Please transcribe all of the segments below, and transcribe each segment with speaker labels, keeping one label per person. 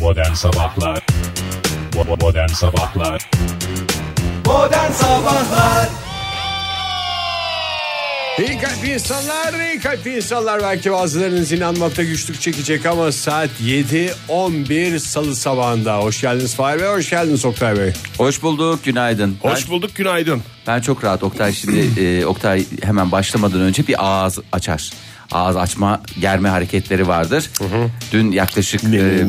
Speaker 1: Modern Sabahlar Bo- Modern Sabahlar
Speaker 2: Modern Sabahlar
Speaker 3: İyi kalp insanlar, iyi kalp insanlar belki bazılarınız inanmakta güçlük çekecek ama saat 7.11 salı sabahında. Hoş geldiniz Fahir Bey, hoş geldiniz Oktay Bey.
Speaker 4: Hoş bulduk, günaydın.
Speaker 5: Hoş
Speaker 4: ben,
Speaker 5: bulduk günaydın.
Speaker 4: ben çok rahat. Oktay şimdi e, Oktay hemen başlamadan önce bir ağız açar. Ağız açma, germe hareketleri vardır. Dün yaklaşık e,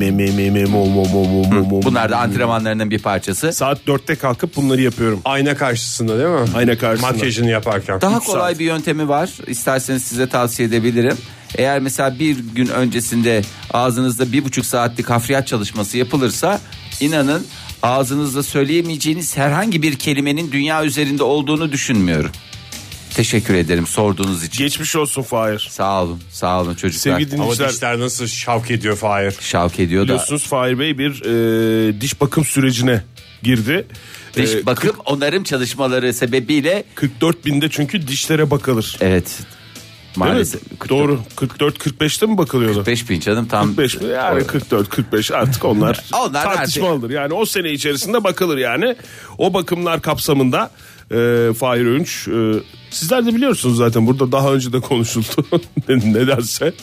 Speaker 4: bunlar da antrenmanlarının bir parçası.
Speaker 5: Saat 4'te kalkıp bunları yapıyorum.
Speaker 3: Ayna karşısında değil mi?
Speaker 5: Ayna karşısında.
Speaker 3: Makyajını yaparken.
Speaker 4: Daha
Speaker 5: Üç
Speaker 4: kolay
Speaker 5: saat.
Speaker 4: bir yöntemi var. İsterseniz size tavsiye edebilirim. Eğer mesela bir gün öncesinde ağzınızda bir buçuk saatlik hafriyat çalışması yapılırsa inanın ağzınızda söyleyemeyeceğiniz herhangi bir kelimenin dünya üzerinde olduğunu düşünmüyorum. Teşekkür ederim sorduğunuz için.
Speaker 5: Geçmiş olsun Fahir.
Speaker 4: Sağ olun, sağ olun çocuklar.
Speaker 5: Sevgili
Speaker 3: Ama
Speaker 5: dinleyiciler
Speaker 3: dişler nasıl şavk ediyor Fahir.
Speaker 4: Şavk ediyor da.
Speaker 5: biliyorsunuz Fahir Bey bir e, diş bakım sürecine girdi.
Speaker 4: Dış
Speaker 5: E,
Speaker 4: bakım onarım çalışmaları sebebiyle
Speaker 5: 44 binde çünkü dişlere bakılır.
Speaker 4: evet
Speaker 5: Değil mi?
Speaker 4: maalesef. 44,
Speaker 5: Doğru. 44-45'te mi bakılıyordu?
Speaker 4: 45 bin canım tam.
Speaker 5: 45 mi? Yani 44-45 artık onlar,
Speaker 4: Onlar
Speaker 5: tartışmalıdır. Yani o sene içerisinde bakılır yani. O bakımlar kapsamında e, Fahir Önç e, sizler de biliyorsunuz zaten burada daha önce de konuşuldu nedense.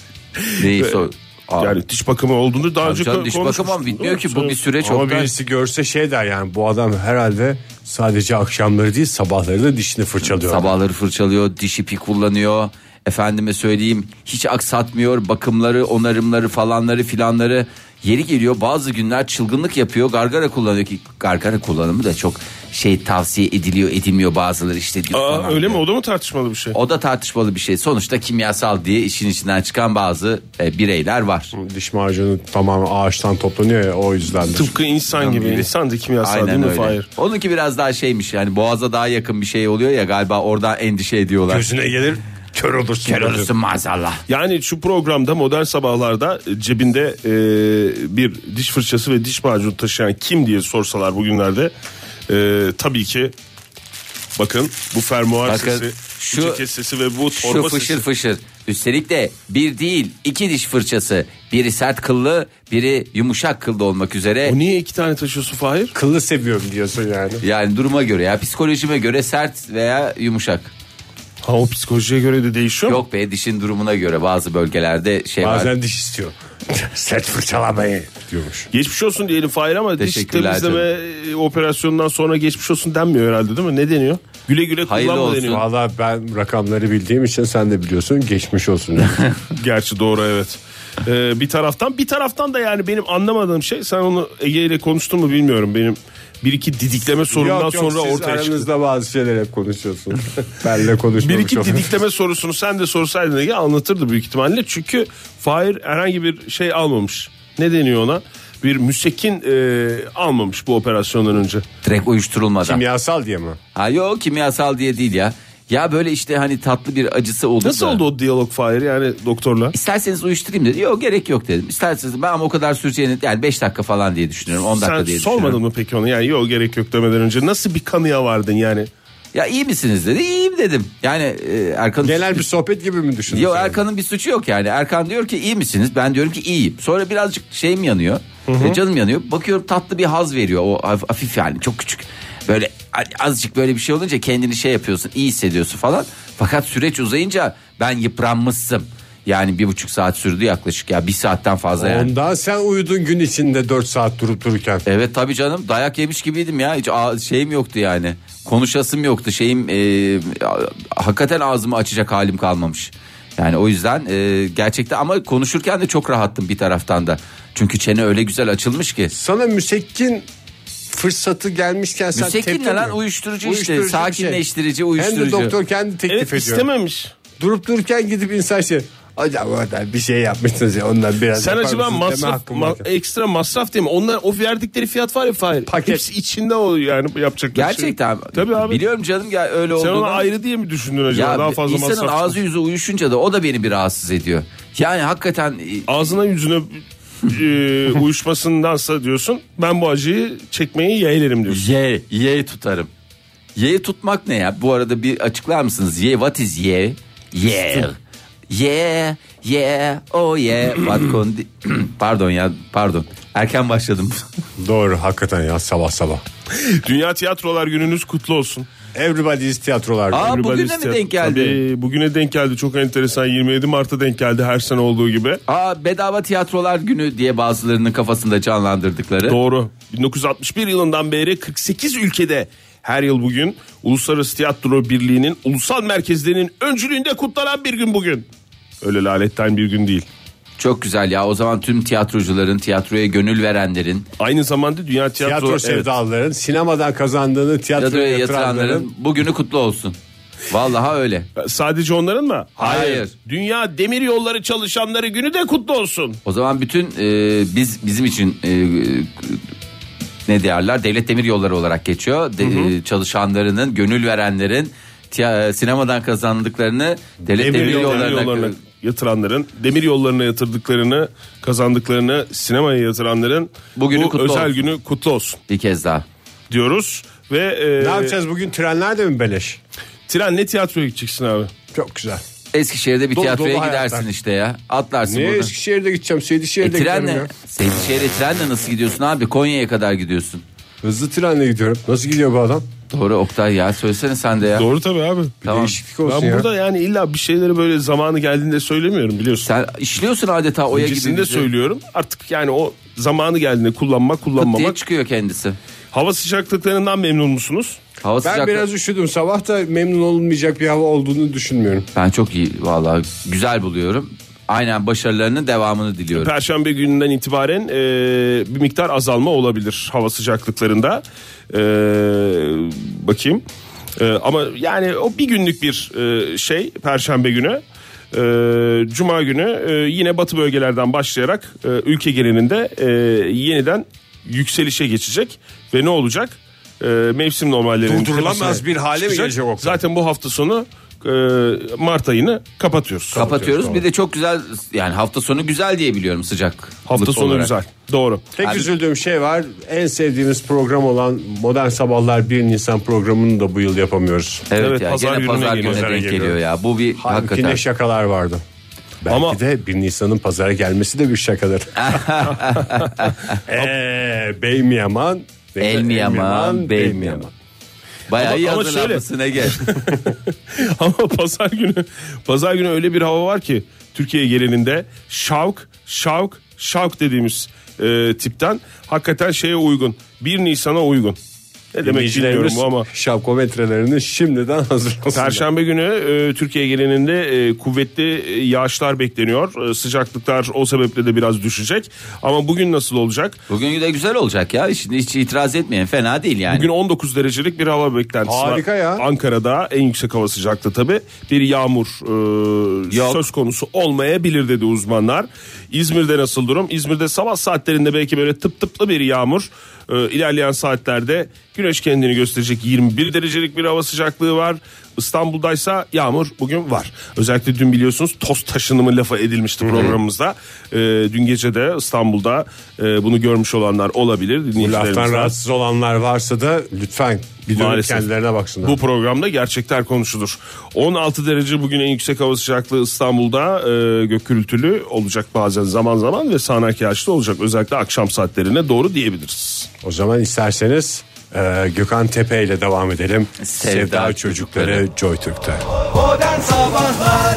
Speaker 4: Neyi
Speaker 5: Ve-
Speaker 4: sor- Aa,
Speaker 5: e, Yani diş bakımı olduğunu daha önce
Speaker 4: canım,
Speaker 5: konuşmuştuk.
Speaker 4: diş bakımı ama bitmiyor ki bu bir süreç.
Speaker 3: Ama
Speaker 4: Oktay.
Speaker 3: birisi görse şey der yani bu adam herhalde sadece akşamları değil sabahları da dişini fırçalıyor.
Speaker 4: Sabahları fırçalıyor, diş ipi kullanıyor. Efendime söyleyeyim hiç aksatmıyor bakımları, onarımları falanları filanları. Yeri geliyor bazı günler çılgınlık yapıyor gargara kullanıyor ki gargara kullanımı da çok şey tavsiye ediliyor edilmiyor bazıları işte diyor.
Speaker 5: Aa,
Speaker 4: falan
Speaker 5: öyle mi?
Speaker 4: diyor.
Speaker 5: O da mı tartışmalı bir şey?
Speaker 4: O da tartışmalı bir şey. Sonuçta kimyasal diye işin içinden çıkan bazı e, bireyler var.
Speaker 3: Diş macunu tamamen ağaçtan toplanıyor ya o yüzden.
Speaker 5: Tıpkı insan gibi. İnsan da kimyasal değil
Speaker 4: Aynen
Speaker 5: mi
Speaker 4: öyle.
Speaker 5: Fahir?
Speaker 4: Onunki biraz daha şeymiş yani boğaza daha yakın bir şey oluyor ya galiba oradan endişe ediyorlar.
Speaker 3: Gözüne gelir kör olursun.
Speaker 4: Kör olursun maazallah.
Speaker 5: Yani şu programda modern sabahlarda cebinde e, bir diş fırçası ve diş macunu taşıyan kim diye sorsalar bugünlerde e, tabii ki bakın bu fermuar
Speaker 4: Bakın,
Speaker 5: sesi,
Speaker 4: şu-
Speaker 5: şu ceket sesi ve bu
Speaker 4: Şu
Speaker 5: torba
Speaker 4: fışır
Speaker 5: sesi.
Speaker 4: fışır. Üstelik de bir değil iki diş fırçası. Biri sert kıllı biri yumuşak kıllı olmak üzere.
Speaker 5: O niye iki tane taşıyorsun Fahir?
Speaker 3: Kıllı seviyorum diyorsun yani.
Speaker 4: Yani duruma göre ya psikolojime göre sert veya yumuşak.
Speaker 5: Ha o psikolojiye göre de değişiyor mu?
Speaker 4: Yok be dişin durumuna göre bazı bölgelerde şey var.
Speaker 3: Bazen diş istiyor. Set fırçalamayı diyormuş.
Speaker 5: Geçmiş olsun diyelim Fahir ama diş
Speaker 4: Teşekkürler
Speaker 5: temizleme e, operasyonundan sonra geçmiş olsun denmiyor herhalde değil mi? Ne deniyor? Güle güle
Speaker 4: Hayırlı
Speaker 5: kullanma
Speaker 4: olsun.
Speaker 5: deniyor.
Speaker 3: Valla ben rakamları bildiğim için sen de biliyorsun geçmiş olsun.
Speaker 5: Gerçi doğru evet. Ee, bir taraftan bir taraftan da yani benim anlamadığım şey sen onu Ege ile konuştun mu bilmiyorum benim bir iki didikleme sorundan sonra
Speaker 3: siz
Speaker 5: ortaya çıktı.
Speaker 3: aranızda bazı şeyler hep konuşuyorsunuz. Benle
Speaker 5: Bir
Speaker 3: konuşmamış
Speaker 5: iki
Speaker 3: olun.
Speaker 5: didikleme sorusunu sen de sorsaydın Ege anlatırdı büyük ihtimalle. Çünkü Fahir herhangi bir şey almamış. Ne deniyor ona? Bir müsekin e, almamış bu operasyondan önce.
Speaker 4: Direkt uyuşturulmadan.
Speaker 3: Kimyasal diye mi?
Speaker 4: Ha yok kimyasal diye değil ya. Ya böyle işte hani tatlı bir acısı oldu.
Speaker 5: Nasıl
Speaker 4: da-
Speaker 5: oldu o diyalog Fahir yani doktorla?
Speaker 4: İsterseniz uyuşturayım dedi. Yok gerek yok dedim. İsterseniz ben ama o kadar süreceğini yani 5 dakika falan diye düşünüyorum. 10 dakika
Speaker 5: Sen
Speaker 4: diye
Speaker 5: sormadın
Speaker 4: düşünüyorum.
Speaker 5: mı peki onu? Yani yok gerek yok demeden önce nasıl bir kanıya vardın yani?
Speaker 4: Ya iyi misiniz dedi. İyiyim dedim. Yani e, Erkan
Speaker 3: Genel bir sohbet gibi mi düşündün?
Speaker 4: Yok
Speaker 3: sen?
Speaker 4: Erkan'ın bir suçu yok yani. Erkan diyor ki iyi misiniz? Ben diyorum ki iyiyim. Sonra birazcık şeyim yanıyor. E, Canım yanıyor. Bakıyorum tatlı bir haz veriyor. O haf- hafif yani çok küçük. Böyle a- azıcık böyle bir şey olunca kendini şey yapıyorsun. iyi hissediyorsun falan. Fakat süreç uzayınca ben yıpranmışsın. Yani bir buçuk saat sürdü yaklaşık ya. Bir saatten fazla yani.
Speaker 3: Ondan sen uyudun gün içinde 4 saat durup dururken.
Speaker 4: Evet tabii canım dayak yemiş gibiydim ya hiç a- şeyim yoktu yani konuşasım yoktu şeyim e, a- hakikaten ağzımı açacak halim kalmamış. Yani o yüzden e, gerçekten ama konuşurken de çok rahattım bir taraftan da çünkü çene öyle güzel açılmış ki.
Speaker 3: Sana müsekkin fırsatı gelmişken sen
Speaker 4: Müsekkin
Speaker 3: tepki
Speaker 4: ne lan
Speaker 3: mi?
Speaker 4: uyuşturucu,
Speaker 3: Uyuşturucu
Speaker 4: işte
Speaker 3: bir şey.
Speaker 4: sakinleştirici
Speaker 3: Hem de
Speaker 4: uyuşturucu.
Speaker 3: doktor kendi teklif
Speaker 5: Evet
Speaker 3: ediyor.
Speaker 5: istememiş.
Speaker 3: Durup dururken gidip insan şey Hocam orada bir şey yapmışsınız ya ondan biraz
Speaker 5: Sen
Speaker 3: yapar
Speaker 5: acaba
Speaker 3: mısınız deme
Speaker 5: masraf,
Speaker 3: hakkım
Speaker 5: ma-
Speaker 3: var.
Speaker 5: ekstra masraf değil mi? Onlar o verdikleri fiyat var ya Fahir.
Speaker 3: Paket.
Speaker 5: Hepsi içinde oluyor yani bu yapacakları
Speaker 4: Gerçekten
Speaker 5: şey. Tabii abi.
Speaker 4: biliyorum canım ya öyle
Speaker 5: Sen
Speaker 4: olduğunu.
Speaker 5: ona ayrı diye mi düşündün acaba?
Speaker 4: ya
Speaker 5: Daha fazla
Speaker 4: insanın
Speaker 5: masraf.
Speaker 4: ağzı yüzü uyuşunca da o da beni bir rahatsız ediyor. Yani hakikaten e,
Speaker 5: Ağzına yüzüne e, uyuşmasındansa diyorsun ben bu acıyı çekmeyi yeğlerim diyorsun.
Speaker 4: Y, Y tutarım. Y tutmak ne ya? Bu arada bir açıklar mısınız? Y, what is Y? Y. Y, Y, oh yeah. What condi- pardon ya, pardon. Erken başladım.
Speaker 3: Doğru hakikaten ya sabah sabah.
Speaker 5: Dünya Tiyatrolar Gününüz kutlu olsun.
Speaker 3: Everybody's tiyatrolarda.
Speaker 4: Aa, bugüne mi
Speaker 5: Everybody's
Speaker 4: denk
Speaker 5: tiyatro-
Speaker 4: geldi?
Speaker 5: Tabii, bugüne denk geldi. Çok enteresan 27 Mart'a denk geldi her sene olduğu gibi.
Speaker 4: Aa bedava tiyatrolar günü diye bazılarının kafasında canlandırdıkları.
Speaker 5: Doğru. 1961 yılından beri 48 ülkede her yıl bugün Uluslararası Tiyatro Birliği'nin ulusal merkezlerinin öncülüğünde kutlanan bir gün bugün. Öyle laletten bir gün değil.
Speaker 4: Çok güzel ya. O zaman tüm tiyatrocuların, tiyatroya gönül verenlerin,
Speaker 5: Aynı zamanda Dünya Tiyatro,
Speaker 3: Tiyatro
Speaker 5: Evet.
Speaker 3: sevdalıların sinemadan kazandığını tiyatroya
Speaker 4: tiyatroya
Speaker 3: yatıranların
Speaker 4: yatıranların bugünü kutlu olsun. Vallahi öyle.
Speaker 5: Sadece onların mı?
Speaker 4: Hayır.
Speaker 5: Dünya Demir Yolları Çalışanları Günü de kutlu olsun.
Speaker 4: O zaman bütün e, biz bizim için e, e, ne derler? Devlet Demir Yolları olarak geçiyor. De- e, çalışanlarının, gönül verenlerin tiya- sinemadan kazandıklarını devlet demir, yollarına,
Speaker 5: yatıranların, demir yollarına yatırdıklarını, kazandıklarını sinemaya yatıranların
Speaker 4: Bugünü
Speaker 5: bu
Speaker 4: kutlu
Speaker 5: özel
Speaker 4: olsun.
Speaker 5: günü kutlu olsun
Speaker 4: bir kez daha.
Speaker 5: diyoruz ve e,
Speaker 3: Ne yapacağız bugün trenler de mi beleş?
Speaker 5: Trenle tiyatroya gideceksin abi.
Speaker 3: Çok güzel.
Speaker 4: Eskişehir'de bir
Speaker 3: Dolu
Speaker 4: tiyatroya
Speaker 3: dolu
Speaker 4: gidersin
Speaker 3: hayatlar.
Speaker 4: işte ya. Atlarsın
Speaker 3: Niye
Speaker 4: buradan.
Speaker 3: Eskişehir'de gideceğim?
Speaker 4: E,
Speaker 3: Seydişehir'de giderim
Speaker 4: trenle.
Speaker 3: ya.
Speaker 4: Seydişehir'e trenle nasıl gidiyorsun abi? Konya'ya kadar gidiyorsun.
Speaker 3: Hızlı trenle gidiyorum. Nasıl gidiyor bu adam?
Speaker 4: Doğru Oktay ya söylesene sen de ya.
Speaker 5: Doğru tabii abi.
Speaker 4: Tamam.
Speaker 3: Değişiklik olsun
Speaker 5: ben
Speaker 3: ya.
Speaker 5: burada yani illa bir şeyleri böyle zamanı geldiğinde söylemiyorum biliyorsun.
Speaker 4: Sen işliyorsun adeta oya gibi. şey-
Speaker 5: Öncesinde
Speaker 4: bizi.
Speaker 5: söylüyorum. Artık yani o zamanı geldiğinde kullanmak,
Speaker 4: Pıt diye
Speaker 5: kullanmamak.
Speaker 4: çıkıyor kendisi.
Speaker 5: Hava sıcaklıklarından memnun musunuz?
Speaker 4: Hava
Speaker 3: Ben
Speaker 4: sıcaklığı-
Speaker 3: biraz üşüdüm. Sabah da memnun olunmayacak bir hava olduğunu düşünmüyorum.
Speaker 4: Ben çok iyi vallahi güzel buluyorum. Aynen başarılarının devamını diliyorum.
Speaker 5: Perşembe gününden itibaren e, bir miktar azalma olabilir hava sıcaklıklarında. E, bakayım. E, ama yani o bir günlük bir e, şey Perşembe günü. E, Cuma günü e, yine batı bölgelerden başlayarak e, ülke genelinde e, yeniden yükselişe geçecek. Ve ne olacak? E, mevsim normallerinin
Speaker 3: Durdurulamaz
Speaker 5: tepesine
Speaker 3: bir hale mi
Speaker 5: çıkacak.
Speaker 3: gelecek o?
Speaker 5: Zaten bu hafta sonu e, Mart ayını kapatıyoruz.
Speaker 4: Kapatıyoruz. Bir de çok güzel yani hafta sonu güzel diye biliyorum sıcak.
Speaker 5: Hafta sonu
Speaker 4: olarak.
Speaker 5: güzel. Doğru.
Speaker 3: Tek üzüldüğüm şey var. En sevdiğimiz program olan Modern Sabahlar 1 Nisan programını da bu yıl yapamıyoruz.
Speaker 4: Evet,
Speaker 5: Evet,
Speaker 4: ya
Speaker 5: pazar
Speaker 4: gene
Speaker 5: gününe
Speaker 4: pazar
Speaker 5: geliyor,
Speaker 4: gününe
Speaker 5: pazara
Speaker 4: denk
Speaker 5: geliyor.
Speaker 4: geliyor ya. Bu bir
Speaker 3: Halbuki
Speaker 4: hakikaten.
Speaker 3: ne şakalar vardı. Belki
Speaker 5: Ama-
Speaker 3: de 1 Nisan'ın pazara gelmesi de bir şakadır. Eee bey mi yaman?
Speaker 4: El mi yaman, bey mi yaman? Bayağı
Speaker 5: Ama-
Speaker 4: iyi
Speaker 5: ama
Speaker 4: hazırlanmışsın Ege.
Speaker 5: Ama pazar günü pazar günü öyle bir hava var ki Türkiye geleninde şavk şavk şavk dediğimiz e, tipten hakikaten şeye uygun. 1 Nisan'a uygun. Ne demek bilmiyorum
Speaker 3: Dinleyicilerimiz
Speaker 5: bu ama
Speaker 3: şapkometrelerini şimdiden hazırlasınlar.
Speaker 5: Perşembe günü e, Türkiye geleninde e, kuvvetli e, yağışlar bekleniyor. E, sıcaklıklar o sebeple de biraz düşecek. Ama bugün nasıl olacak?
Speaker 4: Bugün de güzel olacak ya. Şimdi hiç itiraz etmeyin. Fena değil yani.
Speaker 5: Bugün 19 derecelik bir hava beklentisi var.
Speaker 3: Harika ya.
Speaker 5: Ankara'da en yüksek hava sıcaklığı tabii. Bir yağmur e,
Speaker 4: Yok.
Speaker 5: söz konusu olmayabilir dedi uzmanlar. İzmir'de nasıl durum? İzmir'de sabah saatlerinde belki böyle tıp tıplı bir yağmur. E, ilerleyen saatlerde güneş kendini gösterecek 21 derecelik bir hava sıcaklığı var. İstanbul'daysa yağmur bugün var. Özellikle dün biliyorsunuz toz taşınımı lafa edilmişti programımızda. E, dün gece de İstanbul'da e, bunu görmüş olanlar olabilir.
Speaker 3: Bu
Speaker 5: dinleyicilerimiz
Speaker 3: laftan
Speaker 5: var.
Speaker 3: rahatsız olanlar varsa da lütfen bir dönüp
Speaker 5: Maalesef.
Speaker 3: kendilerine baksınlar.
Speaker 5: Bu programda gerçekler konuşulur. 16 derece bugün en yüksek hava sıcaklığı İstanbul'da e, gök gürültülü olacak bazen zaman zaman ve sağanak yağışlı olacak. Özellikle akşam saatlerine doğru diyebiliriz.
Speaker 3: O zaman isterseniz e, Gökhan Tepe ile devam edelim. Sevda, Çocukları,
Speaker 4: Çocukları.
Speaker 3: Joy Türk'te.
Speaker 2: Modern Sabahlar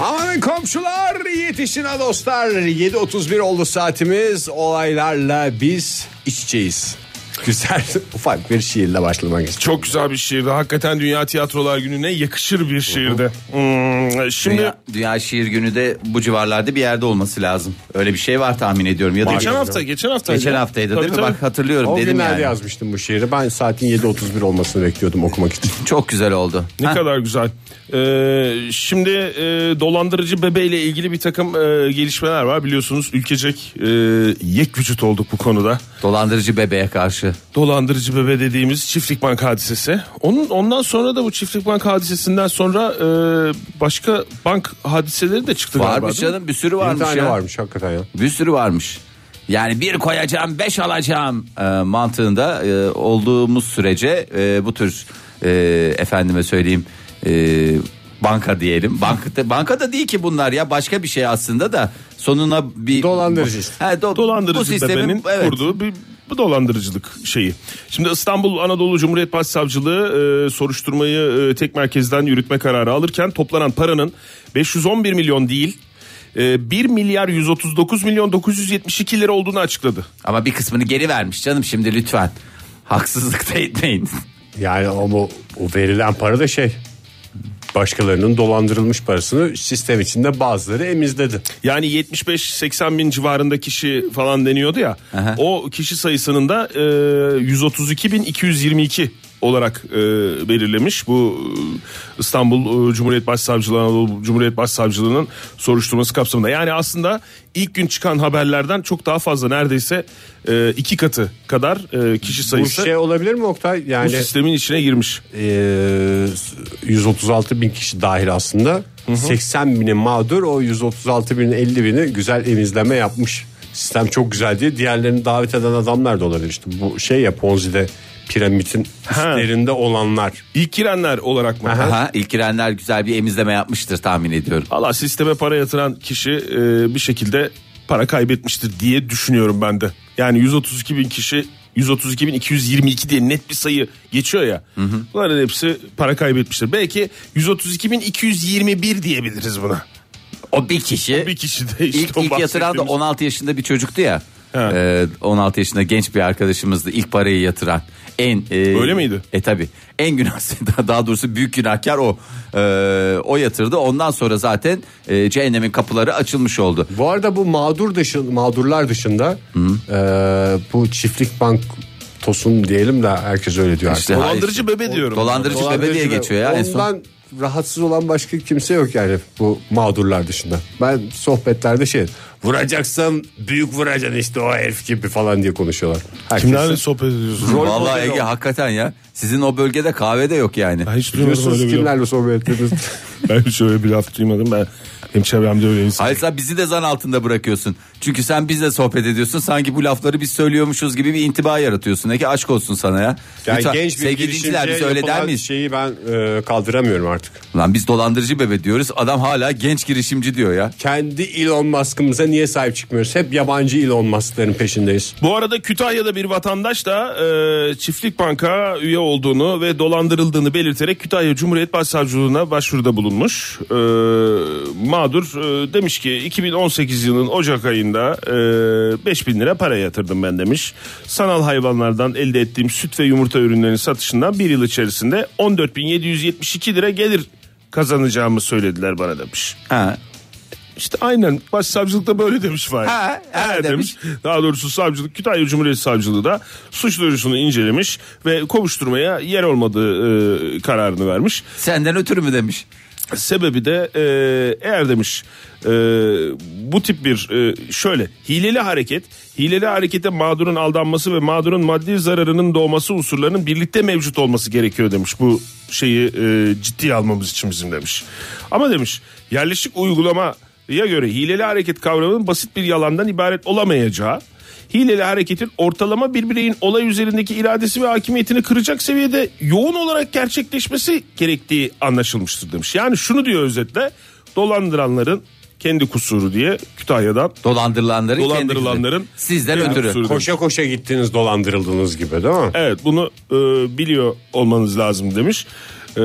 Speaker 3: Amanın komşular yetişin ha dostlar. 7.31 oldu saatimiz. Olaylarla biz içeceğiz. Güzel ufak bir şiirle başlamak istiyorum.
Speaker 5: Çok güzel bir şiirdi. Hakikaten Dünya Tiyatrolar Günü'ne yakışır bir şiirdi. Hmm, şimdi
Speaker 4: Dünya, Dünya Şiir Günü de bu civarlarda bir yerde olması lazım. Öyle bir şey var tahmin ediyorum. Ya da
Speaker 5: geçen hafta geçen hafta
Speaker 4: Geçen haftaydı değil mi? Bak hatırlıyorum
Speaker 3: O
Speaker 4: dedim
Speaker 3: günlerde
Speaker 4: yani.
Speaker 3: yazmıştım bu şiiri. Ben saatin 7.31 olmasını bekliyordum okumak için.
Speaker 4: Çok güzel oldu.
Speaker 5: Ne
Speaker 4: Heh,
Speaker 5: kadar güzel. Ee, şimdi e, dolandırıcı bebeğiyle ilgili bir takım e, gelişmeler var biliyorsunuz. Ülkecek e, yek vücut olduk bu konuda.
Speaker 4: Dolandırıcı bebeğe karşı.
Speaker 5: dolandırıcı bebe dediğimiz çiftlik bank hadisesi. Onun ondan sonra da bu çiftlik bank hadisesinden sonra e, başka bank hadiseleri de çıktı galiba.
Speaker 4: Varmış
Speaker 5: değil mi?
Speaker 4: canım bir sürü
Speaker 3: Bir
Speaker 4: varmış
Speaker 3: tane
Speaker 4: ya.
Speaker 3: varmış hakikaten ya.
Speaker 4: Bir sürü varmış. Yani bir koyacağım beş alacağım e, mantığında e, olduğumuz sürece e, bu tür e, efendime söyleyeyim e, banka diyelim. Bankada bankada değil ki bunlar ya başka bir şey aslında da sonuna bir
Speaker 3: Dolandırıcı işte.
Speaker 4: He, do-
Speaker 5: Dolandırıcı
Speaker 4: bu sistemin-
Speaker 5: bebenin
Speaker 4: evet.
Speaker 5: kurduğu bir bu dolandırıcılık şeyi. Şimdi İstanbul Anadolu Cumhuriyet Başsavcılığı e, soruşturmayı e, tek merkezden yürütme kararı alırken toplanan paranın 511 milyon değil e, 1 milyar 139 milyon 972 lira olduğunu açıkladı.
Speaker 4: Ama bir kısmını geri vermiş canım şimdi lütfen. Haksızlık da etmeyin.
Speaker 3: Yani ama o verilen para da şey başkalarının dolandırılmış parasını sistem içinde bazıları emizledi.
Speaker 5: Yani 75-80 bin civarında kişi falan deniyordu ya.
Speaker 4: Aha.
Speaker 5: O kişi sayısının da e, 132.222 olarak e, belirlemiş. Bu e, İstanbul e, Cumhuriyet Başsavcılığı Anadolu Cumhuriyet Başsavcılığı'nın soruşturması kapsamında. Yani aslında ilk gün çıkan haberlerden çok daha fazla neredeyse e, iki katı kadar e, kişi
Speaker 3: Bu
Speaker 5: sayısı bu,
Speaker 3: şey olabilir mi Oktay? Yani e,
Speaker 5: sistemin içine girmiş.
Speaker 3: eee, 136 bin kişi dahil aslında. 80 bini mağdur o 136 binin 50 bini güzel emizleme yapmış. Sistem çok güzel diye diğerlerini davet eden adamlar da olabilir. İşte bu şey ya Ponzi'de piramitin
Speaker 5: Ha.
Speaker 3: üstlerinde olanlar.
Speaker 5: İlk girenler olarak mı?
Speaker 4: Aha, ilkilenler güzel bir emizleme yapmıştır tahmin ediyorum.
Speaker 5: Valla sisteme para yatıran kişi e, bir şekilde para kaybetmiştir diye düşünüyorum ben de. Yani 132 bin kişi 132 bin 222 diye net bir sayı geçiyor ya. Bunların hepsi para kaybetmiştir. Belki 132 bin 221 diyebiliriz buna.
Speaker 4: O bir kişi.
Speaker 5: Bir kişi de işte
Speaker 4: İlk,
Speaker 5: o
Speaker 4: E, ilk yatıran da
Speaker 5: bahsettiğimiz-
Speaker 4: 16 yaşında bir çocuktu ya.
Speaker 5: Ha.
Speaker 4: Ee, 16 yaşında genç bir arkadaşımızdı ilk parayı yatıran. En e,
Speaker 5: Öyle miydi?
Speaker 4: E tabi. En günah daha doğrusu büyük günahkar o. Ee, o yatırdı. Ondan sonra zaten e, cehennemin kapıları açılmış oldu.
Speaker 3: Bu arada bu mağdur dışı, mağdurlar dışında eee, bu çiftlik bank tosun diyelim de herkes öyle diyor.
Speaker 4: İşte
Speaker 3: artık.
Speaker 5: Dolandırıcı
Speaker 4: hayır.
Speaker 5: bebe diyorum.
Speaker 4: Dolandırıcı, bebe diye
Speaker 3: Dolandırıcı ve-
Speaker 4: geçiyor ya en son.
Speaker 3: Ondan rahatsız olan başka kimse yok yani bu mağdurlar dışında. Ben sohbetlerde şey vuracaksın büyük vuracaksın işte o herif gibi falan diye konuşuyorlar. Herkes-
Speaker 5: Kimlerle sohbet ediyorsun?
Speaker 3: Rol
Speaker 4: Vallahi
Speaker 3: model
Speaker 4: Ege
Speaker 3: o.
Speaker 4: hakikaten ya. Sizin o bölgede kahvede yok yani.
Speaker 5: Ben hiç duymadım
Speaker 3: Biliyorsunuz
Speaker 5: öyle bir laf.
Speaker 3: kimlerle sohbet ediyorsunuz.
Speaker 5: Ben hiç öyle bir laf duymadım. Ben hem çevremde öyle insan.
Speaker 4: Hayır sen bizi de zan altında bırakıyorsun. Çünkü sen bizle sohbet ediyorsun. Sanki bu lafları biz söylüyormuşuz gibi bir intiba yaratıyorsun. Ne ki aşk olsun sana ya.
Speaker 3: yani
Speaker 4: Lütfen,
Speaker 3: genç bir
Speaker 4: sevgili dinleyiciler, biz
Speaker 3: girişimciye
Speaker 4: öyle der
Speaker 3: yapılan
Speaker 4: miyiz?
Speaker 3: şeyi ben e, kaldıramıyorum artık.
Speaker 4: Lan biz dolandırıcı bebe diyoruz. Adam hala genç girişimci diyor ya.
Speaker 3: Kendi Elon Musk'ımıza niye sahip çıkmıyoruz? Hep yabancı Elon Musk'ların peşindeyiz.
Speaker 5: Bu arada Kütahya'da bir vatandaş da e, çiftlik banka üye olduğunu ve dolandırıldığını belirterek Kütahya Cumhuriyet Başsavcılığına başvuruda bulunmuş. E, mağdur e, demiş ki 2018 yılının Ocak ayında e, 5000 lira para yatırdım ben demiş. Sanal hayvanlardan elde ettiğim süt ve yumurta ürünlerinin satışından bir yıl içerisinde 14.772 lira gelir kazanacağımı söylediler bana demiş.
Speaker 4: Ha.
Speaker 5: İşte aynen başsavcılıkta böyle demiş Fahir.
Speaker 4: Ha, ha demiş.
Speaker 5: Daha doğrusu savcılık Kütahya Cumhuriyet Savcılığı da suç duyurusunu incelemiş ve kovuşturmaya yer olmadığı e, kararını vermiş.
Speaker 4: Senden ötürü mü demiş.
Speaker 5: Sebebi de e, eğer demiş e, bu tip bir e, şöyle hileli hareket, hileli harekete mağdurun aldanması ve mağdurun maddi zararının doğması unsurlarının birlikte mevcut olması gerekiyor demiş. Bu şeyi e, ciddiye almamız için bizim demiş. Ama demiş yerleşik uygulamaya göre hileli hareket kavramının basit bir yalandan ibaret olamayacağı Hileli hareketin ortalama bir bireyin olay üzerindeki iradesi ve hakimiyetini kıracak seviyede yoğun olarak gerçekleşmesi gerektiği anlaşılmıştır demiş. Yani şunu diyor özetle dolandıranların kendi kusuru diye Kütahya'dan
Speaker 4: Dolandırılanların
Speaker 5: Dolandırılanların
Speaker 4: kendisi. Sizden
Speaker 5: kendi
Speaker 4: ötürü.
Speaker 5: kusuru.
Speaker 3: Koşa koşa gittiniz dolandırıldığınız gibi değil mi?
Speaker 5: Evet bunu e, biliyor olmanız lazım demiş. E,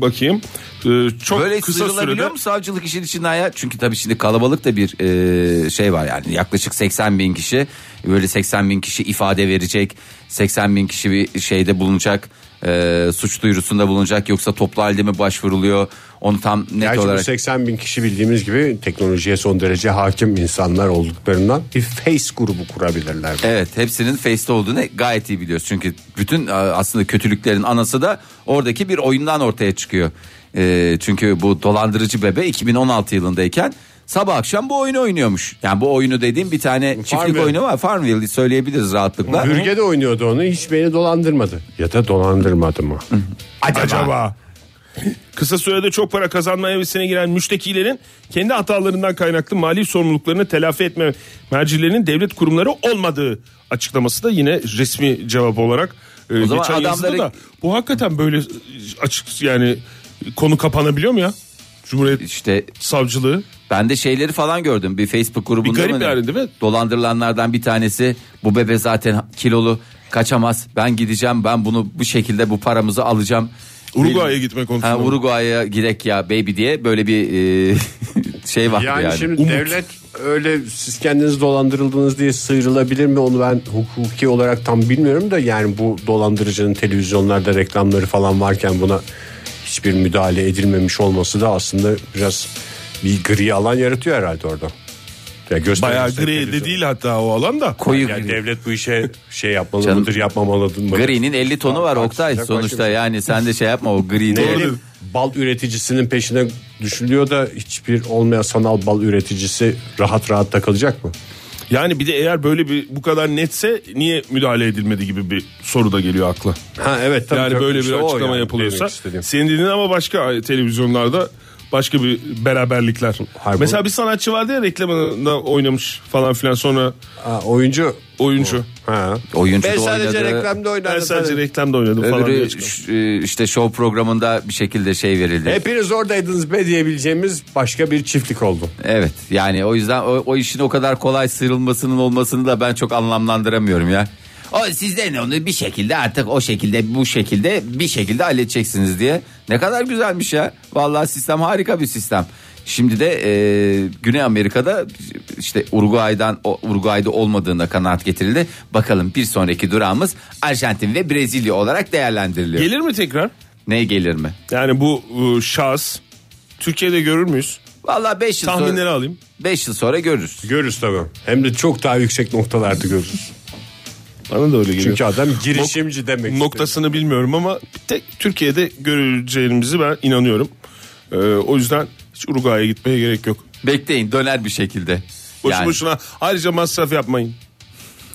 Speaker 5: bakayım. E, çok
Speaker 4: Böyle
Speaker 5: kısa
Speaker 4: sıyrılabiliyor
Speaker 5: sürede
Speaker 4: mu savcılık işin içinden ya? Çünkü tabii şimdi kalabalık da bir e, şey var yani yaklaşık 80 bin kişi böyle 80 bin kişi ifade verecek 80 bin kişi bir şeyde bulunacak e, suç duyurusunda bulunacak yoksa toplu halde mi başvuruluyor onu tam net
Speaker 3: Gerçi bu
Speaker 4: olarak
Speaker 3: 80 bin kişi bildiğimiz gibi teknolojiye son derece hakim insanlar olduklarından bir face grubu kurabilirler.
Speaker 4: Evet hepsinin face'te olduğunu gayet iyi biliyoruz. Çünkü bütün e, aslında kötülüklerin anası da oradaki bir oyundan ortaya çıkıyor. E, çünkü bu dolandırıcı bebe 2016 yılındayken sabah akşam bu oyunu oynuyormuş. Yani bu oyunu dediğim bir tane çiftlik
Speaker 3: Farmville.
Speaker 4: oyunu var. Farmville söyleyebiliriz rahatlıkla.
Speaker 3: Bürge de oynuyordu onu hiç beni dolandırmadı. Ya da dolandırmadı mı?
Speaker 5: acaba? Kısa sürede çok para kazanma hevesine giren müştekilerin kendi hatalarından kaynaklı mali sorumluluklarını telafi etme mercilerinin devlet kurumları olmadığı açıklaması da yine resmi cevap olarak e,
Speaker 4: zaman
Speaker 5: geçen yazıda
Speaker 4: adamları-
Speaker 5: da bu hakikaten böyle açık yani konu kapanabiliyor mu ya? Cumhuriyet
Speaker 4: İşte
Speaker 5: Savcılığı.
Speaker 4: ben de şeyleri falan gördüm bir Facebook grubunda
Speaker 5: Bir garip
Speaker 4: mı ne?
Speaker 5: yani değil mi?
Speaker 4: Dolandırılanlardan bir tanesi bu bebe zaten kilolu kaçamaz. Ben gideceğim ben bunu bu şekilde bu paramızı alacağım.
Speaker 5: Uruguay'a gitme konusunda
Speaker 4: Ha,
Speaker 5: mı?
Speaker 4: Uruguay'a girek ya baby diye böyle bir e, şey var yani.
Speaker 3: Yani, şimdi
Speaker 5: Umut.
Speaker 3: devlet öyle siz kendiniz dolandırıldınız diye sıyrılabilir mi onu ben hukuki olarak tam bilmiyorum da yani bu dolandırıcının televizyonlarda reklamları falan varken buna hiçbir müdahale edilmemiş olması da aslında biraz bir gri alan yaratıyor herhalde orada. Ya göster-
Speaker 5: Bayağı
Speaker 3: göster
Speaker 5: gri de
Speaker 3: televizyonu.
Speaker 5: değil hatta o alan da.
Speaker 4: Koyu
Speaker 3: Yani
Speaker 4: gri.
Speaker 3: devlet bu işe şey yapmalı mıdır yapmamalı mıdır?
Speaker 4: Gri'nin 50 tonu var Oktay
Speaker 3: Haksızlık
Speaker 4: sonuçta
Speaker 3: başım.
Speaker 4: yani sen de şey yapma o gri
Speaker 3: Ne
Speaker 4: de-
Speaker 3: bileyim, bal üreticisinin peşine düşülüyor da hiçbir olmayan sanal bal üreticisi rahat rahat takılacak mı?
Speaker 5: Yani bir de eğer böyle bir bu kadar netse niye müdahale edilmedi gibi bir soru da geliyor akla.
Speaker 3: Ha evet tabii.
Speaker 5: Yani
Speaker 3: tabii.
Speaker 5: böyle bir
Speaker 3: İşte o
Speaker 5: açıklama
Speaker 3: yani
Speaker 5: yapılıyorsa.
Speaker 3: demek istediğim.
Speaker 5: Senin dediğin ama başka televizyonlarda başka bir beraberlikler.
Speaker 3: Hayır, bu-
Speaker 5: Mesela bir sanatçı vardı ya reklamında oynamış falan filan sonra
Speaker 3: Ha, oyuncu.
Speaker 5: oyuncu.
Speaker 3: Ha.
Speaker 4: Oyuncu
Speaker 3: ben
Speaker 4: da
Speaker 3: sadece
Speaker 4: oynadı.
Speaker 3: reklamda
Speaker 5: Ben
Speaker 3: oynadım.
Speaker 5: sadece reklamda oynadım falan diye
Speaker 4: Öbürü
Speaker 5: açıklamış.
Speaker 4: ş- e, işte show programında bir şekilde şey verildi.
Speaker 3: Hepiniz oradaydınız be diyebileceğimiz başka bir çiftlik oldu.
Speaker 4: Evet yani o yüzden o, o işin o kadar kolay sıyrılmasının olmasını da ben çok anlamlandıramıyorum ya. O sizden onu bir şekilde artık o şekilde bu şekilde bir şekilde halledeceksiniz diye. Ne kadar güzelmiş ya. Vallahi sistem harika bir sistem. Şimdi de e, Güney Amerika'da işte Uruguay'dan o- Uruguay'da olmadığına kanaat getirildi. Bakalım bir sonraki durağımız Arjantin ve Brezilya olarak değerlendiriliyor.
Speaker 5: Gelir mi tekrar?
Speaker 4: ne gelir mi?
Speaker 5: Yani bu e, şahıs Türkiye'de görür müyüz?
Speaker 4: Vallahi 5 yıl
Speaker 5: Tahminleri
Speaker 4: sonra
Speaker 5: alayım.
Speaker 4: 5 yıl sonra görürüz.
Speaker 3: Görürüz tabii. Hem de çok daha yüksek noktalarda görürüz.
Speaker 5: Bana da öyle geliyor.
Speaker 3: Çünkü adam girişimci demek. istiyor.
Speaker 5: noktasını bilmiyorum ama bir tek Türkiye'de göreceğimizi ben inanıyorum. Ee, o yüzden hiç Uruguay'a gitmeye gerek yok.
Speaker 4: Bekleyin döner bir şekilde.
Speaker 5: Boşu
Speaker 4: Yani.
Speaker 5: boşuna ayrıca masraf yapmayın.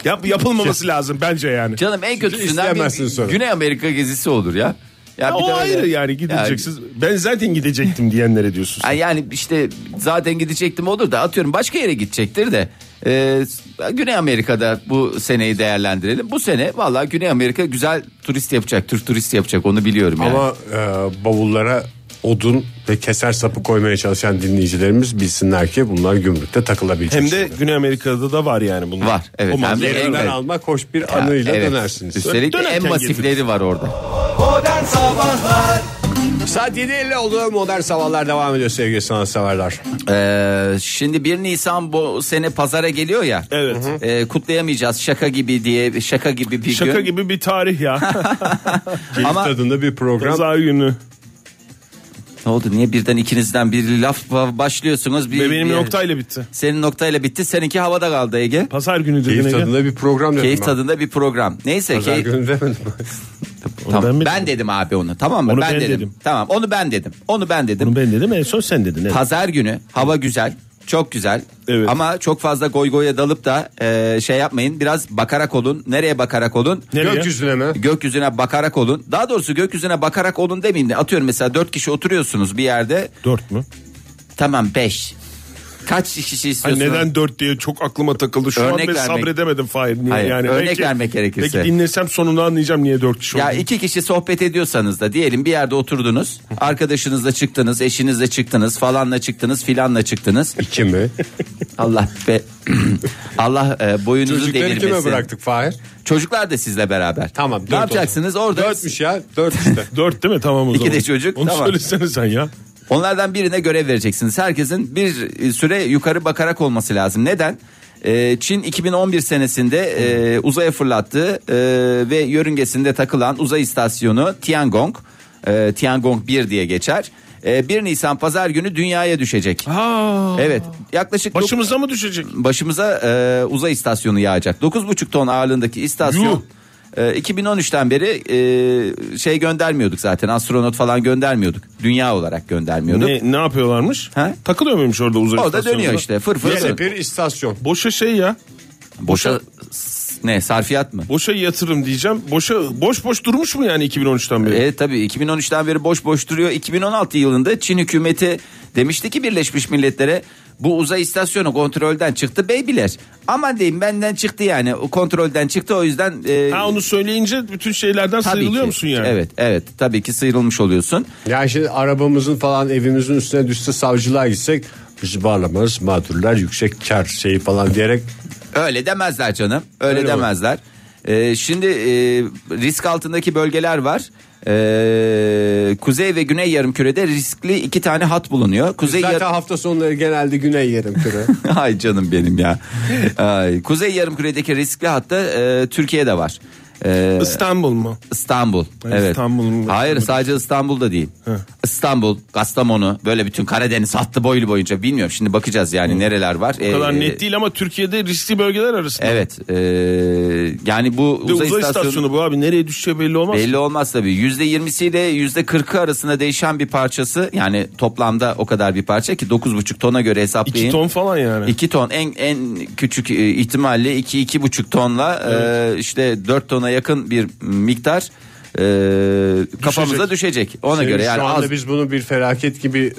Speaker 5: Yap, yapılmaması lazım bence yani.
Speaker 4: Canım en kötüsünden
Speaker 3: İsteyemezsin
Speaker 4: bir
Speaker 3: sonra.
Speaker 4: Güney Amerika gezisi olur ya. Ya,
Speaker 5: Ya
Speaker 4: bir de
Speaker 5: o
Speaker 4: öyle-
Speaker 5: ayrı yani gideceksiniz. Ben zaten gidecektim diyenlere diyorsun. sen.
Speaker 4: Yani, yani işte zaten gidecektim olur da atıyorum başka yere gidecektir de. Ee, Güney Amerika'da bu seneyi değerlendirelim. Bu sene valla Güney Amerika güzel turist yapacak. Türk turist yapacak onu biliyorum yani.
Speaker 3: Ama e, bavullara odun ve keser sapı koymaya çalışan dinleyicilerimiz bilsinler ki bunlar gümrükte takılabilecek.
Speaker 5: Hem de
Speaker 3: şeyler.
Speaker 5: Güney Amerika'da da var yani bunlar.
Speaker 4: Var, evet.
Speaker 5: O
Speaker 4: Hem de
Speaker 5: manzara-
Speaker 4: en-
Speaker 3: Yerinden
Speaker 4: Evet.
Speaker 3: almak hoş bir
Speaker 4: Ya,
Speaker 3: anıyla
Speaker 4: evet.
Speaker 3: dönersiniz.
Speaker 4: Üstelik de en
Speaker 5: Dönerken
Speaker 4: masifleri var orada.
Speaker 2: Modern Sabahlar
Speaker 3: Saat 7.50 oldu. Modern Sabahlar devam ediyor sevgili sanatseverler.
Speaker 4: Ee, şimdi 1 Nisan bu sene pazara geliyor ya.
Speaker 5: Evet.
Speaker 4: Ee, kutlayamayacağız şaka gibi diye şaka gibi bir
Speaker 5: Şaka
Speaker 4: gün.
Speaker 5: gibi bir tarih ya.
Speaker 4: Ama
Speaker 3: Tadında bir program.
Speaker 5: Pazar günü.
Speaker 4: Ne oldu niye birden ikinizden bir laf başlıyorsunuz? Bir,
Speaker 5: Ve benim
Speaker 4: bir-
Speaker 5: noktayla bitti.
Speaker 4: Senin noktayla bitti seninki havada kaldı Ege.
Speaker 5: Pazar günü dedin
Speaker 3: Keyif
Speaker 5: Ege.
Speaker 3: tadında bir program dedim
Speaker 4: Keyif
Speaker 3: ben.
Speaker 4: tadında bir program. Neyse
Speaker 3: Pazar
Speaker 4: keyif-
Speaker 3: günü demedim.
Speaker 4: Tamam,
Speaker 5: ben mi
Speaker 4: Ben,
Speaker 5: dedim?
Speaker 4: dedim abi onu tamam mı?
Speaker 5: Onu
Speaker 4: ben
Speaker 5: ben
Speaker 4: dedim.
Speaker 5: dedim.
Speaker 4: Tamam onu ben dedim. Onu ben dedim.
Speaker 5: Ben dedim en son sen dedin. evet.
Speaker 4: Pazar günü hava güzel. Çok güzel.
Speaker 5: Evet.
Speaker 4: Ama çok fazla goy goya dalıp da e, şey yapmayın. Biraz bakarak olun. Nereye bakarak olun?
Speaker 5: Nereye?
Speaker 3: Gökyüzüne mi?
Speaker 4: Gökyüzüne bakarak olun. Daha doğrusu gökyüzüne bakarak olun demeyin. de Atıyorum mesela dört kişi oturuyorsunuz bir yerde.
Speaker 5: Dört mü?
Speaker 4: Tamam beş. Kaç kişi
Speaker 5: Hani
Speaker 4: istiyorsunuz?
Speaker 5: neden 4 diye çok aklıma takıldı. Şu
Speaker 4: Örnek
Speaker 5: an ben
Speaker 4: vermek-
Speaker 5: sabredemedim Fahir. Niye
Speaker 4: Hayır,
Speaker 5: yani.
Speaker 4: örnek vermek gerekirse.
Speaker 5: Belki dinlesem sonunu anlayacağım niye 4 kişi
Speaker 4: Ya
Speaker 5: olduğunu.
Speaker 4: iki kişi sohbet ediyorsanız da diyelim bir yerde oturdunuz. Arkadaşınızla çıktınız, eşinizle çıktınız, falanla çıktınız, filanla çıktınız.
Speaker 3: İki mi?
Speaker 4: Allah be Allah e, boyunuzu
Speaker 3: Çocukları kime
Speaker 4: devirmesin.
Speaker 3: bıraktık Fahir?
Speaker 4: Çocuklar da sizle beraber.
Speaker 3: Tamam, dört
Speaker 4: Ne yapacaksınız orada?
Speaker 3: Dörtmüş ya. Dört işte.
Speaker 5: 4 değil mi? Tamam o
Speaker 4: İki
Speaker 5: zaman.
Speaker 4: de çocuk,
Speaker 5: Onu
Speaker 4: tamam.
Speaker 5: söylesene sen ya.
Speaker 4: Onlardan birine görev vereceksiniz. Herkesin bir e, süre yukarı bakarak olması lazım. Neden? E, Çin 2011 senesinde e, uzaya fırlattığı e, ve yörüngesinde takılan uzay istasyonu Tiangong, e, Tiangong 1 diye geçer. E, 1 Nisan pazar günü dünyaya düşecek.
Speaker 5: Aa,
Speaker 4: Evet yaklaşık dok-
Speaker 5: Başımıza mı düşecek?
Speaker 4: başımıza e, uzay istasyonu yağacak. 9,5 ton ağırlığındaki
Speaker 5: Yuh.
Speaker 4: istasyon e, 2013'ten beri e, şey göndermiyorduk zaten astronot falan göndermiyorduk. Dünya olarak göndermiyorduk.
Speaker 5: Ne, ne yapıyorlarmış?
Speaker 4: Ha?
Speaker 5: Takılıyor muymuş orada uzay
Speaker 4: Orada
Speaker 5: istasyonunda?
Speaker 4: dönüyor işte fır fır
Speaker 3: Yeni
Speaker 4: fır.
Speaker 3: bir istasyon.
Speaker 5: Boşa şey ya.
Speaker 4: Boşa s- ne sarfiyat mı?
Speaker 5: Boşa yatırım diyeceğim. Boşa boş boş durmuş mu yani 2013'ten beri?
Speaker 4: Evet E, tabii 2013'ten beri boş boş duruyor. 2016 yılında Çin hükümeti demişti ki Birleşmiş Milletler'e Bu uzay istasyonu kontrolden çıktı beybiler. Ama diyeyim benden çıktı yani. O kontrolden çıktı o yüzden e,
Speaker 5: Ha onu söyleyince bütün şeylerden
Speaker 4: tabii
Speaker 5: sıyrılıyor
Speaker 4: ki.
Speaker 5: musun yani?
Speaker 4: Evet evet tabii ki sıyrılmış oluyorsun.
Speaker 3: Yani şimdi arabamızın falan evimizin üstüne düşse savcılığa gitsek bizi bağlamaz mağdurlar yüksek kar şeyi falan diyerek
Speaker 4: Öyle demezler canım. Öyle,
Speaker 3: Öyle mi?
Speaker 4: demezler. Ee, şimdi e, risk altındaki bölgeler var. Ee, kuzey ve güney yarımkürede riskli iki tane hat bulunuyor. Kuzey
Speaker 3: zaten
Speaker 4: yar-
Speaker 3: hafta sonları genelde güney yerim kürü.
Speaker 4: Ay canım benim ya. Ay, kuzey yarımküredeki riskli hatta e, Türkiye'de var. Ee,
Speaker 5: İstanbul mu?
Speaker 4: İstanbul.
Speaker 5: Ay,
Speaker 4: Evet.
Speaker 5: İstanbul mu?
Speaker 4: Hayır sadece İstanbul'da değil. İstanbul, Kastamonu böyle bütün Karadeniz hattı boylu boyunca bilmiyorum. Şimdi bakacağız yani nereler var.
Speaker 5: O kadar
Speaker 4: Ee,
Speaker 5: net değil ama Türkiye'de riskli bölgeler arasında.
Speaker 4: Evet. e, yani bu
Speaker 5: Bir de
Speaker 4: uzay, istasyonu,
Speaker 5: bu abi nereye düşeceği belli olmaz.
Speaker 4: belli olmaz tabii. Yüzde ile yüzde arasında değişen bir parçası. Yani toplamda o kadar bir parça ki 9,5 tona göre hesaplayın.
Speaker 5: 2 ton falan yani.
Speaker 4: 2 ton en en küçük e, ihtimalle 2 iki, 2,5 tonla e, işte 4 tona yakın bir miktar e, kafamıza düşecek. Ona
Speaker 3: Şimdi
Speaker 4: göre yani
Speaker 3: Şey, şu anda
Speaker 4: az
Speaker 3: biz bunu bir felaket gibi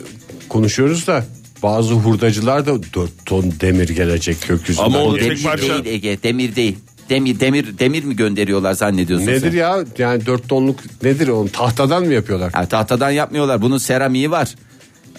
Speaker 3: konuşuyoruz da bazı hurdacılar da 4 ton demir gelecek gökyüzünden.
Speaker 5: Ama o
Speaker 3: diye.
Speaker 5: tek
Speaker 4: demir
Speaker 5: parça-
Speaker 4: değil Ege, demir değil. Demir demir demir mi gönderiyorlar zannediyorsun
Speaker 3: Nedir
Speaker 4: sen?
Speaker 3: ya yani 4 tonluk nedir oğlum tahtadan mı yapıyorlar?
Speaker 4: Ha, tahtadan yapmıyorlar. Bunun seramiği var.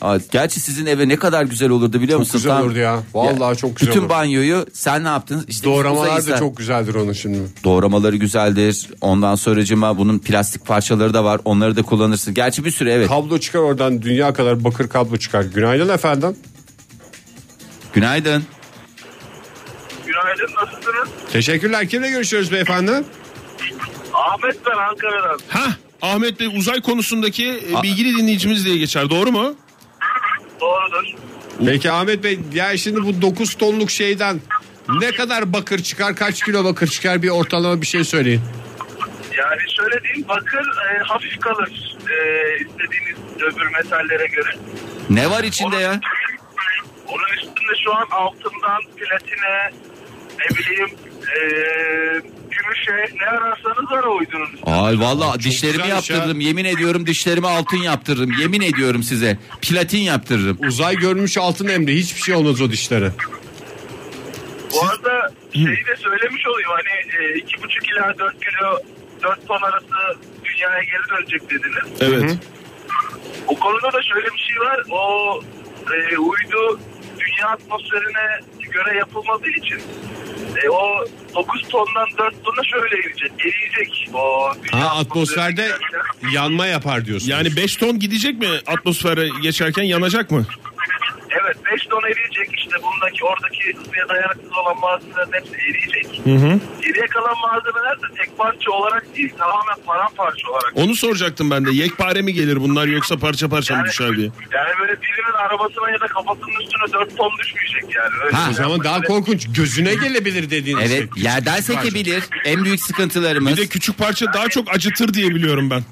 Speaker 4: Aa, Gerçi sizin eve ne kadar güzel olurdu biliyor musun?
Speaker 3: güzel olurdu ya. Vallahi çok güzel
Speaker 4: Bütün
Speaker 3: olurdu.
Speaker 4: banyoyu sen ne yaptın? İşte uzay
Speaker 3: Doğramalar da
Speaker 4: ister-
Speaker 3: çok güzeldir onun şimdi.
Speaker 4: Doğramaları güzeldir. Ondan sonracıma bunun plastik parçaları da var. Onları da kullanırsın. Gerçi bir sürü evet.
Speaker 3: Kablo çıkar oradan dünya kadar bakır kablo çıkar. Günaydın efendim.
Speaker 4: Günaydın.
Speaker 6: Günaydın nasılsınız?
Speaker 3: Teşekkürler. Kimle görüşüyoruz beyefendi?
Speaker 6: Ahmet ben Ankara'dan.
Speaker 5: Ha Ahmet Bey uzay konusundaki e, bilgili dinleyicimiz diye geçer doğru mu?
Speaker 6: Doğrudur.
Speaker 3: Peki Ahmet Bey ya şimdi bu 9 tonluk şeyden ne kadar bakır çıkar kaç kilo bakır çıkar bir ortalama bir şey söyleyin.
Speaker 6: Yani şöyle diyeyim bakır e, hafif kalır e, istediğiniz öbür metallere göre.
Speaker 4: Ne var içinde ya?
Speaker 6: Onun üstünde şu an altından platine ne bileyim e, gümüşe ne ararsanız var o uydunun üstünde.
Speaker 4: Ay vallahi dişlerimi
Speaker 3: güzelmiş ya.
Speaker 4: yaptırdım. Yemin ediyorum dişlerimi altın yaptırırım. Yemin ediyorum size. Platin yaptırırım.
Speaker 3: Uzay görmüş altın emri hiçbir şey olmaz o dişlere.
Speaker 6: Bu arada şeyi de söylemiş olayım hani e, iki buçuk ila 4 kilo 4 ton arası dünyaya geri dönecek dediniz.
Speaker 5: Evet.
Speaker 6: O konuda da şöyle bir şey var. O e, uydu dünya atmosferine göre yapılmadığı için e, o 9 tondan 4 tona şöyle inecek. Eriyecek o dünya
Speaker 3: Ha atmosferde
Speaker 6: atmosferine göre.
Speaker 3: yanma yapar diyorsunuz.
Speaker 5: Yani 5 ton gidecek mi atmosfere geçerken yanacak mı?
Speaker 6: Evet 5 ton eriyecek işte bundaki oradaki ısıya dayanıksız olan malzemelerin hepsi eriyecek. Geriye kalan malzemeler de tek parça olarak değil tamamen paramparça olarak.
Speaker 5: Onu soracaktım ben de yekpare mi gelir bunlar yoksa parça parça mı düşer diye.
Speaker 6: yani böyle birinin arabasına ya da kafasının üstüne 4 ton düşmeyecek yani. Öyle
Speaker 4: Ha,
Speaker 3: o zaman daha korkunç gözüne gelebilir dediğiniz
Speaker 4: Evet
Speaker 3: şey.
Speaker 4: yerden sekebilir. En büyük sıkıntılarımız.
Speaker 5: Bir de küçük parça daha çok acıtır diye biliyorum ben.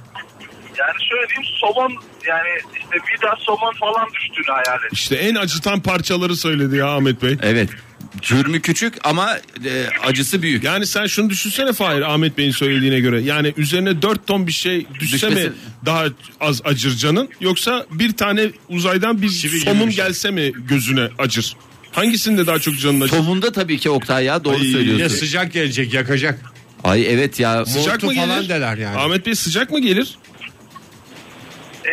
Speaker 6: Yani şöyle diyeyim somon yani işte vida somon falan düştüğünü hayal et.
Speaker 5: İşte en acıtan parçaları söyledi ya Ahmet Bey.
Speaker 4: Evet. Cürmü küçük ama e, acısı büyük.
Speaker 5: Yani sen şunu düşünsene Fahir Ahmet Bey'in söylediğine göre. Yani üzerine 4 ton bir şey düşse mi
Speaker 4: Düşmesi-
Speaker 5: daha az acır canın yoksa bir tane uzaydan bir
Speaker 3: Çivi gibi
Speaker 5: somun
Speaker 3: bir şey.
Speaker 5: gelse mi gözüne acır? Hangisinde daha çok canın acır?
Speaker 4: Tomunda tabii ki Oktay ya doğru
Speaker 5: Ay,
Speaker 4: söylüyorsun.
Speaker 3: Ya sıcak gelecek yakacak.
Speaker 4: Ay evet ya.
Speaker 5: Sıcak mı
Speaker 3: Montu falan
Speaker 5: gelir?
Speaker 3: deler yani.
Speaker 5: Ahmet Bey sıcak mı gelir?
Speaker 6: Ee,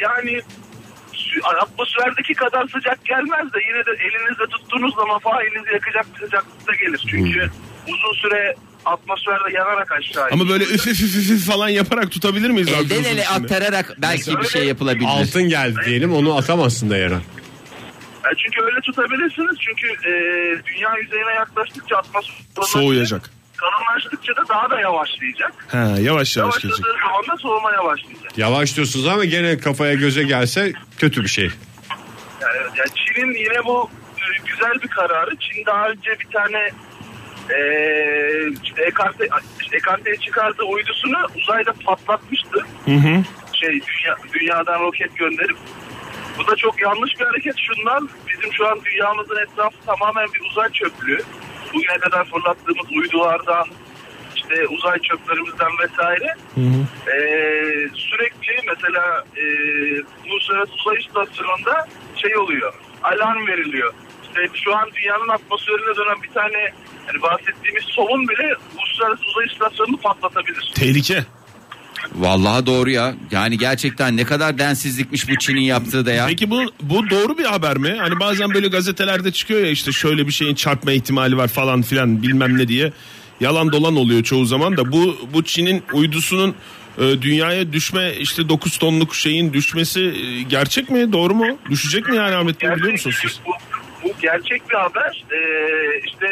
Speaker 6: yani sü- atmosferdeki kadar sıcak gelmez de yine de elinizde tuttuğunuz zaman falan elinizi yakacak bir sıcaklıkta gelir. Çünkü uzun süre atmosferde yanarak aşağı
Speaker 5: Hmm. Ama böyle üf üf üf üf falan yaparak tutabilir miyiz? abi
Speaker 4: Elden
Speaker 5: gözün
Speaker 4: ele
Speaker 5: içinde?
Speaker 4: aktararak belki bir şey yapılabilir.
Speaker 3: Altın geldi diyelim onu atamazsın da yere.
Speaker 6: Yani E, çünkü öyle tutabilirsiniz. Çünkü e, dünya yüzeyine yaklaştıkça atmosfer
Speaker 5: Soğuyacak.
Speaker 6: Kalınlaştıkça da daha da yavaşlayacak.
Speaker 5: Ha, yavaş yavaş gelecek.
Speaker 6: Yavaşladığı zaman da soğumaya başlayacak.
Speaker 3: Yavaş diyorsunuz ama gene kafaya göze gelse kötü bir şey.
Speaker 6: Yani, yani Çin'in yine bu e, güzel bir kararı. Çin daha önce bir tane e, işte ekarte, işte ekarteye çıkardığı uydusunu uzayda patlatmıştı. Şey dünya, dünyadan roket gönderip. Bu da çok yanlış bir hareket şundan. Bizim şu an dünyamızın etrafı tamamen bir uzay çöplüğü. Bugüne kadar fırlattığımız uydulardan işte uzay çöplerimizden vesaire. Ee, sürekli mesela e, uluslararası uzay istasyonunda şey oluyor. alarm veriliyor. İşte şu an dünyanın atmosferine dönen bir tane hani bahsettiğimiz solun bile uluslararası uzay istasyonunu patlatabilir.
Speaker 5: Tehlike.
Speaker 4: Vallahi doğru ya. Yani gerçekten ne kadar densizlikmiş bu Çin'in yaptığı da ya.
Speaker 5: Peki bu bu doğru bir haber mi? Hani bazen böyle gazetelerde çıkıyor ya işte şöyle bir şeyin çarpma ihtimali var falan filan bilmem ne diye. Yalan dolan oluyor çoğu zaman da bu bu Çin'in uydusunun e, dünyaya düşme işte 9 tonluk şeyin düşmesi e, gerçek mi? Doğru mu? Düşecek mi yani Ahmet Bey biliyor musunuz siz?
Speaker 6: Bu, bu gerçek bir haber. Ee, işte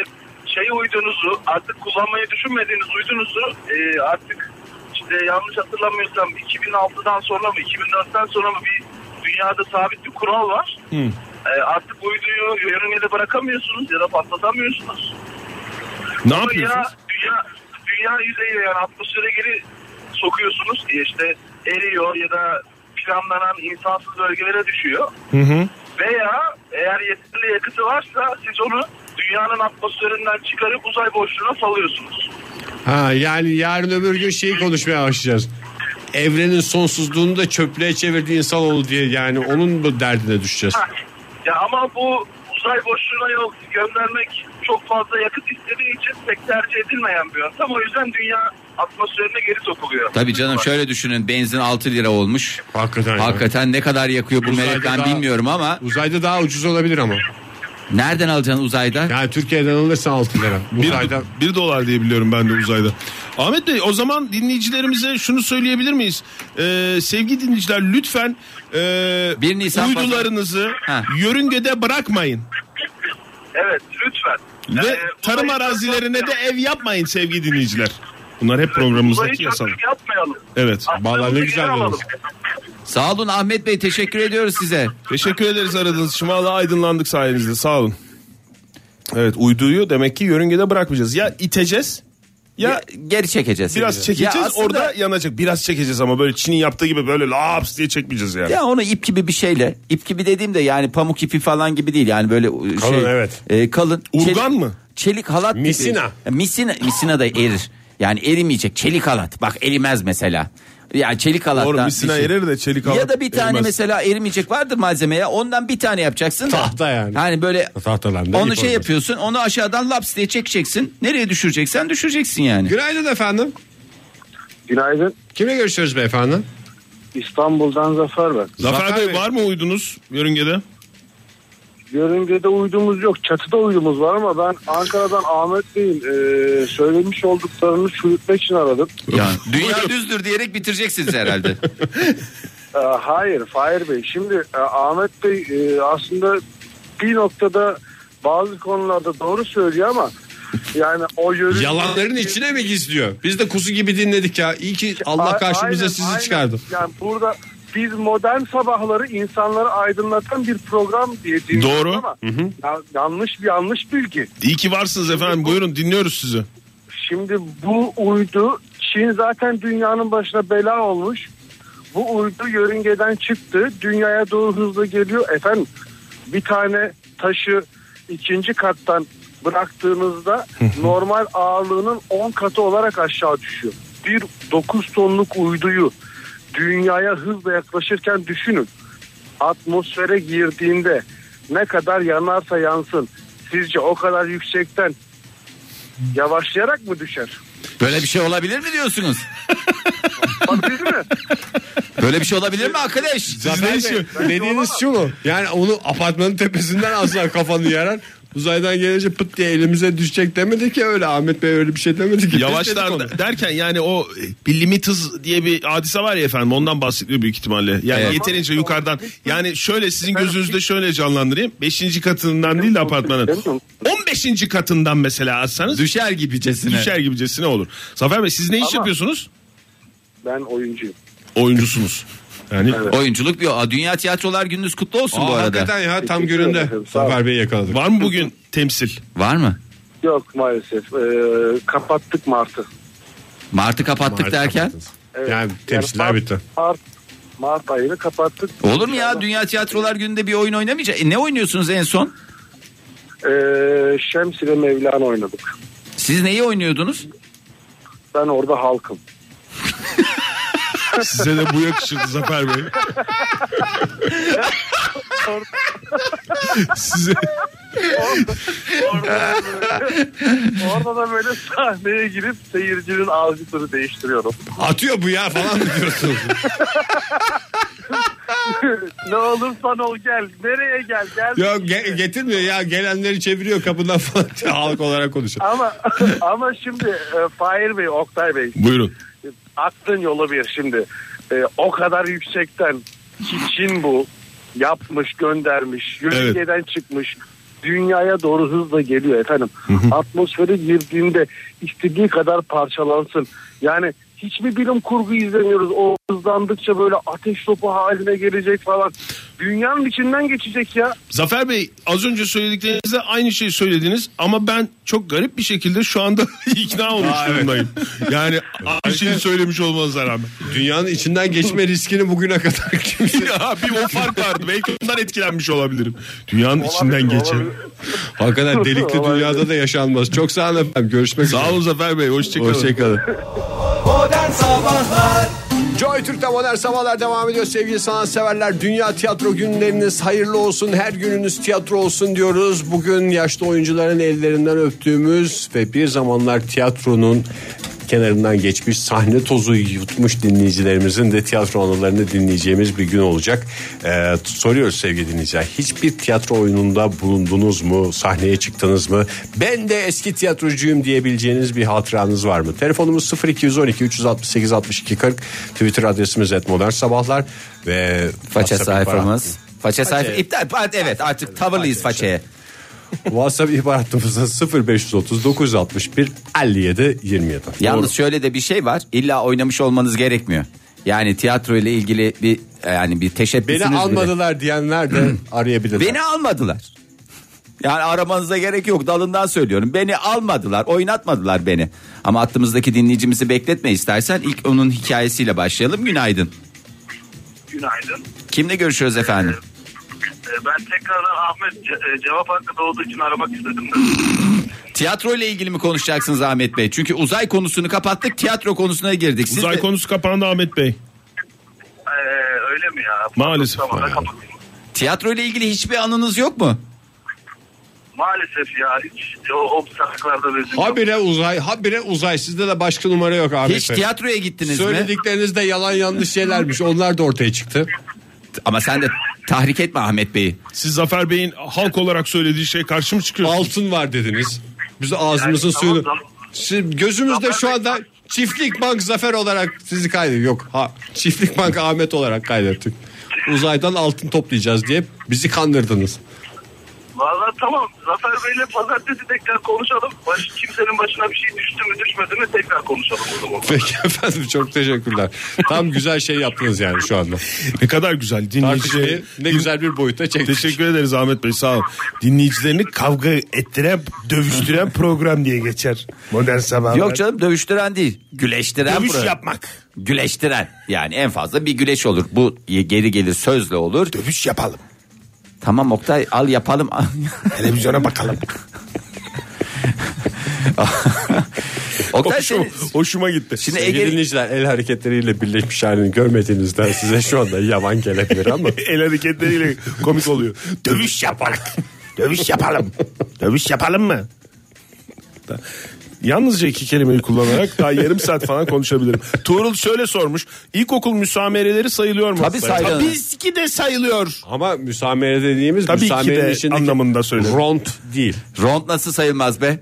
Speaker 6: şey uydunuzu artık kullanmayı düşünmediğiniz uydunuzu e, artık işte yanlış hatırlamıyorsam 2006'dan sonra mı 2004'ten sonra mı bir dünyada sabit bir kural var. Ee, artık uyduyu yörüngede bırakamıyorsunuz ya da patlatamıyorsunuz.
Speaker 5: Ne
Speaker 6: Ama
Speaker 5: yapıyorsunuz?
Speaker 6: Ya, dünya, dünya yüzeyine yani atmosfere geri sokuyorsunuz diye işte eriyor ya da planlanan insansız bölgelere düşüyor. Veya eğer yeterli yakıtı varsa siz onu dünyanın atmosferinden çıkarıp uzay boşluğuna salıyorsunuz.
Speaker 3: Ha, yani yarın öbür gün şeyi konuşmaya başlayacağız. Evrenin sonsuzluğunu da çöplüğe çevirdiği insan oldu diye yani onun bu derdine düşeceğiz.
Speaker 6: Ha, Ya ama bu uzay boşluğuna yol göndermek çok fazla yakıt istediği için pek tercih edilmeyen bir yöntem. O yüzden dünya atmosferine geri sokuluyor.
Speaker 4: Tabii canım şöyle düşünün benzin 6 lira olmuş.
Speaker 3: Hakikaten.
Speaker 4: Hakikaten ne kadar yakıyor bu
Speaker 3: Uzayda
Speaker 4: melek ben
Speaker 3: daha-
Speaker 4: bilmiyorum ama
Speaker 3: Uzayda daha ucuz olabilir ama.
Speaker 4: nereden alacaksın uzayda?
Speaker 3: Yani Türkiye'den alırsan 6 lira.
Speaker 5: Bir,
Speaker 3: Uzayda
Speaker 5: bir dolar diye biliyorum ben de uzayda. Ahmet Bey o zaman dinleyicilerimize şunu söyleyebilir miyiz? Ee, sevgili dinleyiciler lütfen e,
Speaker 4: 1 Nisan pazar-
Speaker 5: uydularınızı
Speaker 4: Ha.
Speaker 5: yörüngede bırakmayın.
Speaker 6: Evet lütfen.
Speaker 5: Ve
Speaker 6: Ee,
Speaker 5: tarım
Speaker 6: uzay-
Speaker 5: arazilerine de ev yapmayın sevgili dinleyiciler. Bunlar hep programımızdaki
Speaker 6: Uzayı
Speaker 5: yasalar.
Speaker 6: çöplük yapmayalım.
Speaker 5: Evet.
Speaker 3: Vallahi ne
Speaker 6: Aklımızı
Speaker 3: güzel
Speaker 6: geri alalım.
Speaker 3: dediniz.
Speaker 4: Sağ olun Ahmet Bey teşekkür ediyoruz size.
Speaker 5: Teşekkür ederiz aradığınız için. Valla aydınlandık sayenizde. Sağ olun. Evet uyduyu demek ki yörüngede bırakmayacağız. Ya iteceğiz ya,
Speaker 4: Ya, geri çekeceğiz.
Speaker 5: biraz çekeceğiz
Speaker 4: Ya aslında-
Speaker 5: orada yanacak. Biraz çekeceğiz ama böyle Çin'in yaptığı gibi böyle laps diye çekmeyeceğiz yani.
Speaker 4: Ya onu ip gibi bir şeyle. ip gibi dediğimde yani pamuk ipi falan gibi değil. Yani böyle şey.
Speaker 3: Kalın, evet.
Speaker 4: e, kalın.
Speaker 5: Urgan
Speaker 4: Çelik-
Speaker 5: mı?
Speaker 4: Çelik halat gibi.
Speaker 3: Misina.
Speaker 4: Ya Misina. Misina da erir. Yani erimeyecek. Çelik halat. Bak erimez mesela. Yani çelik halattan.
Speaker 5: Doğru
Speaker 4: bir
Speaker 5: misina
Speaker 4: şey.
Speaker 5: erir de çelik halat
Speaker 4: Ya da bir tane
Speaker 5: erimez.
Speaker 4: mesela erimeyecek vardır malzemeye. Ondan bir tane yapacaksın. da.
Speaker 3: Tahta yani.
Speaker 4: Hani böyle.
Speaker 3: Tahtadan da ip
Speaker 4: Onu şey
Speaker 3: olacak.
Speaker 4: yapıyorsun. Onu aşağıdan laps diye çekeceksin. Nereye düşüreceksen düşüreceksin yani.
Speaker 3: Günaydın efendim.
Speaker 7: Günaydın.
Speaker 3: Kimle görüşüyoruz beyefendi?
Speaker 7: İstanbul'dan Zafer ben.
Speaker 5: Zafer
Speaker 3: Zafer
Speaker 5: Bey,
Speaker 3: Bey.
Speaker 5: var mı uydunuz yörüngede?
Speaker 7: Yörüngede uydumuz yok. Çatıda uydumuz var ama ben Ankara'dan Ahmet Bey'in e, söylemiş olduklarını çürütmek için aradım.
Speaker 4: Yani dünya düzdür diyerek bitireceksiniz herhalde.
Speaker 7: E, hayır Fahir Bey. Şimdi e, Ahmet Bey e, aslında bir noktada bazı konularda doğru söylüyor ama yani o yörünge...
Speaker 3: Yalanların içine mi gizliyor? Biz de kuzu gibi dinledik ya. İyi ki Allah
Speaker 7: A-
Speaker 3: karşımıza
Speaker 7: aynen,
Speaker 3: sizi
Speaker 7: aynen.
Speaker 3: çıkardı.
Speaker 7: Yani burada biz modern sabahları insanları aydınlatan bir program diye dinliyoruz
Speaker 5: Doğru.
Speaker 7: ama ya- yanlış bir yanlış bilgi.
Speaker 5: İyi ki varsınız efendim. Buyurun dinliyoruz sizi.
Speaker 7: Şimdi bu uydu Çin zaten dünyanın başına bela olmuş. Bu uydu yörüngeden çıktı. Dünyaya doğru hızla geliyor. Efendim bir tane taşı ikinci kattan bıraktığınızda normal ağırlığının 10 katı olarak aşağı düşüyor. Bir 9 tonluk uyduyu dünyaya hızla yaklaşırken düşünün. Atmosfere girdiğinde ne kadar yanarsa yansın sizce o kadar yüksekten yavaşlayarak mı düşer?
Speaker 4: Böyle bir şey olabilir mi diyorsunuz?
Speaker 7: Bak değil mi?
Speaker 4: Böyle bir şey olabilir mi arkadaş?
Speaker 3: Zafer Bey, dediğiniz şu mu? Yani onu apartmanın tepesinden asla kafanı yarar. Uzaydan gelince pıt diye elimize düşecek demedi ki öyle. Ahmet Bey öyle bir şey demedi ki. Biz dedik onu.
Speaker 5: Yavaşlar derken yani o e, bir limit hız diye bir hadise var ya efendim ondan bahsediyor büyük ihtimalle. Yani
Speaker 4: Evet.
Speaker 5: yeterince yukarıdan. Yani şöyle sizin gözünüzde şöyle canlandırayım. Beşinci katından değil de apartmanın. 15. katından mesela atsanız
Speaker 4: Düşer gibicesine.
Speaker 5: düşer gibicesine olur. Zafer Bey siz ne iş yapıyorsunuz?
Speaker 7: Ben oyuncuyum.
Speaker 5: Oyuncusunuz. Yani
Speaker 4: Oyunculuk bir Aa, Dünya Tiyatrolar Gününüz kutlu olsun
Speaker 3: Aa,
Speaker 4: bu arada.
Speaker 3: hakikaten ya tam
Speaker 7: Teşekkür
Speaker 3: gününde.
Speaker 7: ederim, sağ olun.
Speaker 3: Zafer Bey'i yakaladık.
Speaker 5: var mı bugün temsil?
Speaker 4: Var mı?
Speaker 7: Yok maalesef. Ee, kapattık Mart'ı.
Speaker 4: Martı kapattık
Speaker 3: Maalesef
Speaker 4: derken.
Speaker 3: kapattınız. Yani temsiller
Speaker 7: Mart-
Speaker 3: bitti.
Speaker 7: Mart, Mart ayını kapattık.
Speaker 4: Olur mu ya Dünya Tiyatrolar Günü'nde bir oyun oynamayacak. E, ne oynuyorsunuz en son?
Speaker 7: Ee, Şems ile Mevlana oynadık.
Speaker 4: Siz neyi oynuyordunuz?
Speaker 7: Ben orada halkım.
Speaker 5: Size de bu yakışır Zafer Bey. Size
Speaker 7: Orada da böyle sahneye girip seyircinin algısını değiştiriyorum.
Speaker 3: Atıyor bu ya falan mı diyorsunuz?
Speaker 7: ne olursan ol gel. Nereye gel gel.
Speaker 3: Yok ge- getirmiyor ya gelenleri çeviriyor kapından falan diye halk olarak konuşuyor.
Speaker 7: Ama ama şimdi e, Fahir Bey, Oktay Bey
Speaker 5: buyurun.
Speaker 7: aklın yolu bir şimdi. E, o kadar yüksekten Çin bu yapmış göndermiş yörüngeden çıkmış dünyaya doğru hızla geliyor efendim. Atmosfere girdiğinde istediği kadar parçalansın. Yani hiçbir bilim kurgu izlemiyoruz. O hızlandıkça böyle ateş topu haline gelecek falan. Dünyanın içinden geçecek ya.
Speaker 5: Zafer Bey az önce söylediklerinizde aynı şeyi söylediniz ama ben çok garip bir şekilde şu anda ikna olmuş
Speaker 3: Aa, evet.
Speaker 5: durumdayım. Yani aynı şeyi söylemiş olmanıza rağmen.
Speaker 3: Dünyanın içinden geçme riskini bugüne kadar kimse...
Speaker 5: ya bir o fark vardı. Belki ondan etkilenmiş olabilirim. Dünyanın içinden
Speaker 7: Olabilir,
Speaker 5: geçelim.
Speaker 7: olabilir.
Speaker 3: Hakikaten delikli
Speaker 7: Olabilir.
Speaker 3: dünyada da yaşanmaz. Çok sağ olun efendim. Görüşmek üzere.
Speaker 5: Sağ olun Zafer Bey. Hoşçakalın.
Speaker 3: Hoşçakalın.
Speaker 2: Modern Sabahlar
Speaker 3: Joy Türk'te modern sabahlar devam ediyor sevgili sanatseverler. Dünya tiyatro günleriniz hayırlı olsun, her gününüz tiyatro olsun diyoruz. Bugün yaşlı oyuncuların ellerinden öptüğümüz ve bir zamanlar tiyatronun kenarından geçmiş sahne tozu yutmuş dinleyicilerimizin de tiyatro anılarını dinleyeceğimiz bir gün olacak. Ee, soruyoruz sevgili dinleyiciler. Hiçbir tiyatro oyununda bulundunuz mu? Sahneye çıktınız mı? Ben de eski tiyatrocuyum diyebileceğiniz bir hatıranız var mı? Telefonumuz 0212 368 62 40. Twitter adresimiz et modern sabahlar ve
Speaker 4: Faça
Speaker 3: WhatsApp
Speaker 4: sayfamız. Faça sayfa
Speaker 3: Façe.
Speaker 4: iptal. pa- Evet artık tavırlıyız
Speaker 3: Façe
Speaker 4: façeye.
Speaker 3: ihbar- WhatsApp ihbar hattımızda 0530 961 57 27.
Speaker 4: Yalnız şöyle de bir şey var. İlla oynamış olmanız gerekmiyor. Yani tiyatro ile ilgili bir e, yani bir
Speaker 3: Beni
Speaker 4: teşebbüsünüz bile-
Speaker 3: almadılar diyenler de arayabilirler.
Speaker 4: Beni almadılar. Yani aramanıza gerek yok dalından söylüyorum. Beni almadılar oynatmadılar beni. Ama attığımızdaki dinleyicimizi bekletme istersen ilk onun hikayesiyle başlayalım. Günaydın.
Speaker 6: Günaydın.
Speaker 4: Kimle görüşüyoruz efendim?
Speaker 6: Ee, Ben tekrar Ahmet ce- e, cevap hakkı da olduğu için aramak istedim. de.
Speaker 4: Tiyatro ile ilgili mi konuşacaksınız Ahmet Bey? Çünkü uzay konusunu kapattık tiyatro konusuna girdik. Siz
Speaker 5: Uzay
Speaker 4: de-
Speaker 5: konusu kapandı Ahmet Bey.
Speaker 6: Ee, öyle mi ya?
Speaker 5: Maalesef.
Speaker 6: Tamam,
Speaker 5: Yani.
Speaker 6: kapatayım.
Speaker 4: Tiyatro ile ilgili hiçbir anınız yok mu?
Speaker 6: Maalesef ya hiç o, o uzaklarda bizim yok.
Speaker 3: Habire uzay, habire uzay. Sizde de başka numara yok abi.
Speaker 4: Hiç tiyatroya gittiniz mi?
Speaker 3: Söyledikleriniz de yalan yanlış şeylermiş. Onlar da ortaya çıktı.
Speaker 4: Ama sen de tahrik etme Ahmet Bey'i.
Speaker 5: Siz Zafer Bey'in halk olarak söylediği şeye karşı mı çıkıyorsunuz?
Speaker 3: Altın var dediniz. Biz ağzımızın
Speaker 6: Yani tamam,
Speaker 3: suyunu...
Speaker 6: tamam.
Speaker 3: Siz- gözümüzde şu
Speaker 6: Zafer
Speaker 3: anda çiftlik bank zafer olarak sizi kaydettik. Yok ha, çiftlik bank Ahmet olarak kaydettik. Uzaydan altın toplayacağız diye bizi kandırdınız.
Speaker 6: Valla tamam Zafer Bey'le pazartesi tekrar konuşalım. Baş, kimsenin başına bir şey düştü mü düşmedi mi tekrar konuşalım o zaman.
Speaker 3: Peki efendim çok teşekkürler. Tam güzel şey yaptınız yani şu anda.
Speaker 5: Ne kadar güzel dinleyici.
Speaker 3: Tartışmayı ne güzel şey- bir boyuta çektik.
Speaker 5: Teşekkür ederiz Ahmet Bey sağ ol. Dinleyicilerini kavga ettiren, dövüştüren program diye geçer. Modern sabahlar.
Speaker 4: Yok canım dövüştüren değil. Güleştiren
Speaker 5: Dövüş
Speaker 4: burası.
Speaker 5: yapmak.
Speaker 4: Güleştiren. Yani en fazla bir güleş olur. Bu geri gelir sözle olur.
Speaker 5: Dövüş yapalım.
Speaker 4: Tamam Oktay al yapalım.
Speaker 5: Televizyona bakalım.
Speaker 4: Oktay
Speaker 5: Hoşuma,
Speaker 4: senin-
Speaker 5: hoşuma gitti.
Speaker 4: Şimdi
Speaker 3: Sevgili
Speaker 4: Ege,
Speaker 3: dinleyiciler el hareketleriyle birleşmiş halini görmediğinizden size şu anda yaman gelebilir ama.
Speaker 5: El hareketleriyle komik oluyor. Dövüş yapalım. Dövüş yapalım. Dövüş yapalım mı? Yalnızca iki kelimeyi kullanarak daha yarım saat falan konuşabilirim. Tuğrul şöyle sormuş. İlkokul müsamereleri sayılıyor mu?
Speaker 4: Tabii sayılır.
Speaker 5: Tabii ki de sayılıyor.
Speaker 3: Ama müsamere dediğimiz
Speaker 5: Tabii ki
Speaker 3: müsamerenin
Speaker 5: de
Speaker 3: içindeki
Speaker 5: anlamında söyledim.
Speaker 3: Ront değil.
Speaker 4: rond nasıl sayılmaz be?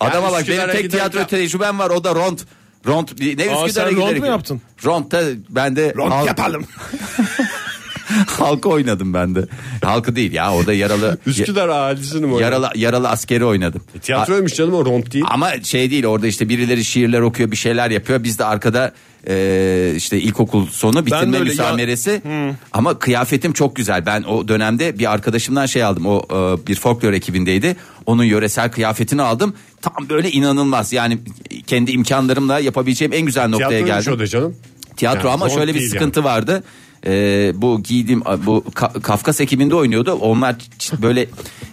Speaker 4: Adama
Speaker 3: Ya
Speaker 4: bak
Speaker 3: Üsküdar'a
Speaker 4: benim tek
Speaker 3: giderken-
Speaker 4: tiyatro tecrübem var o da rond. Rond ne Üsküdar'a
Speaker 5: sen rond mu
Speaker 4: giderek-
Speaker 5: yaptın?
Speaker 4: Rond'da ben de
Speaker 5: Rond
Speaker 4: halk-
Speaker 5: yapalım.
Speaker 4: halkı oynadım ben de. Halkı değil ya orada yaralı
Speaker 3: Üsküdar hadisini mi? Yaralı.
Speaker 4: yaralı yaralı askeri oynadım.
Speaker 5: E,
Speaker 3: Tiyatroymuş canım o ront değil.
Speaker 4: Ama şey değil orada işte birileri şiirler okuyor bir şeyler yapıyor. Biz de arkada e, işte ilkokul sonu
Speaker 5: Ben de
Speaker 4: bitirme
Speaker 5: öyle ya-
Speaker 4: müsameresi. Ama kıyafetim çok güzel. Ben o dönemde bir arkadaşımdan şey aldım. O e, bir folklor ekibindeydi. Onun yöresel kıyafetini aldım. Tam böyle inanılmaz. Yani kendi imkanlarımla yapabileceğim en güzel noktaya
Speaker 3: Tiyatroymuş o
Speaker 4: geldim.
Speaker 3: da canım.
Speaker 4: Tiyatro
Speaker 3: Yani
Speaker 4: ama
Speaker 3: rol
Speaker 4: şöyle bir
Speaker 3: değil
Speaker 4: sıkıntı vardı. Ee, bu giydim bu Ka- Kafkas ekibinde oynuyordu. Onlar ç- böyle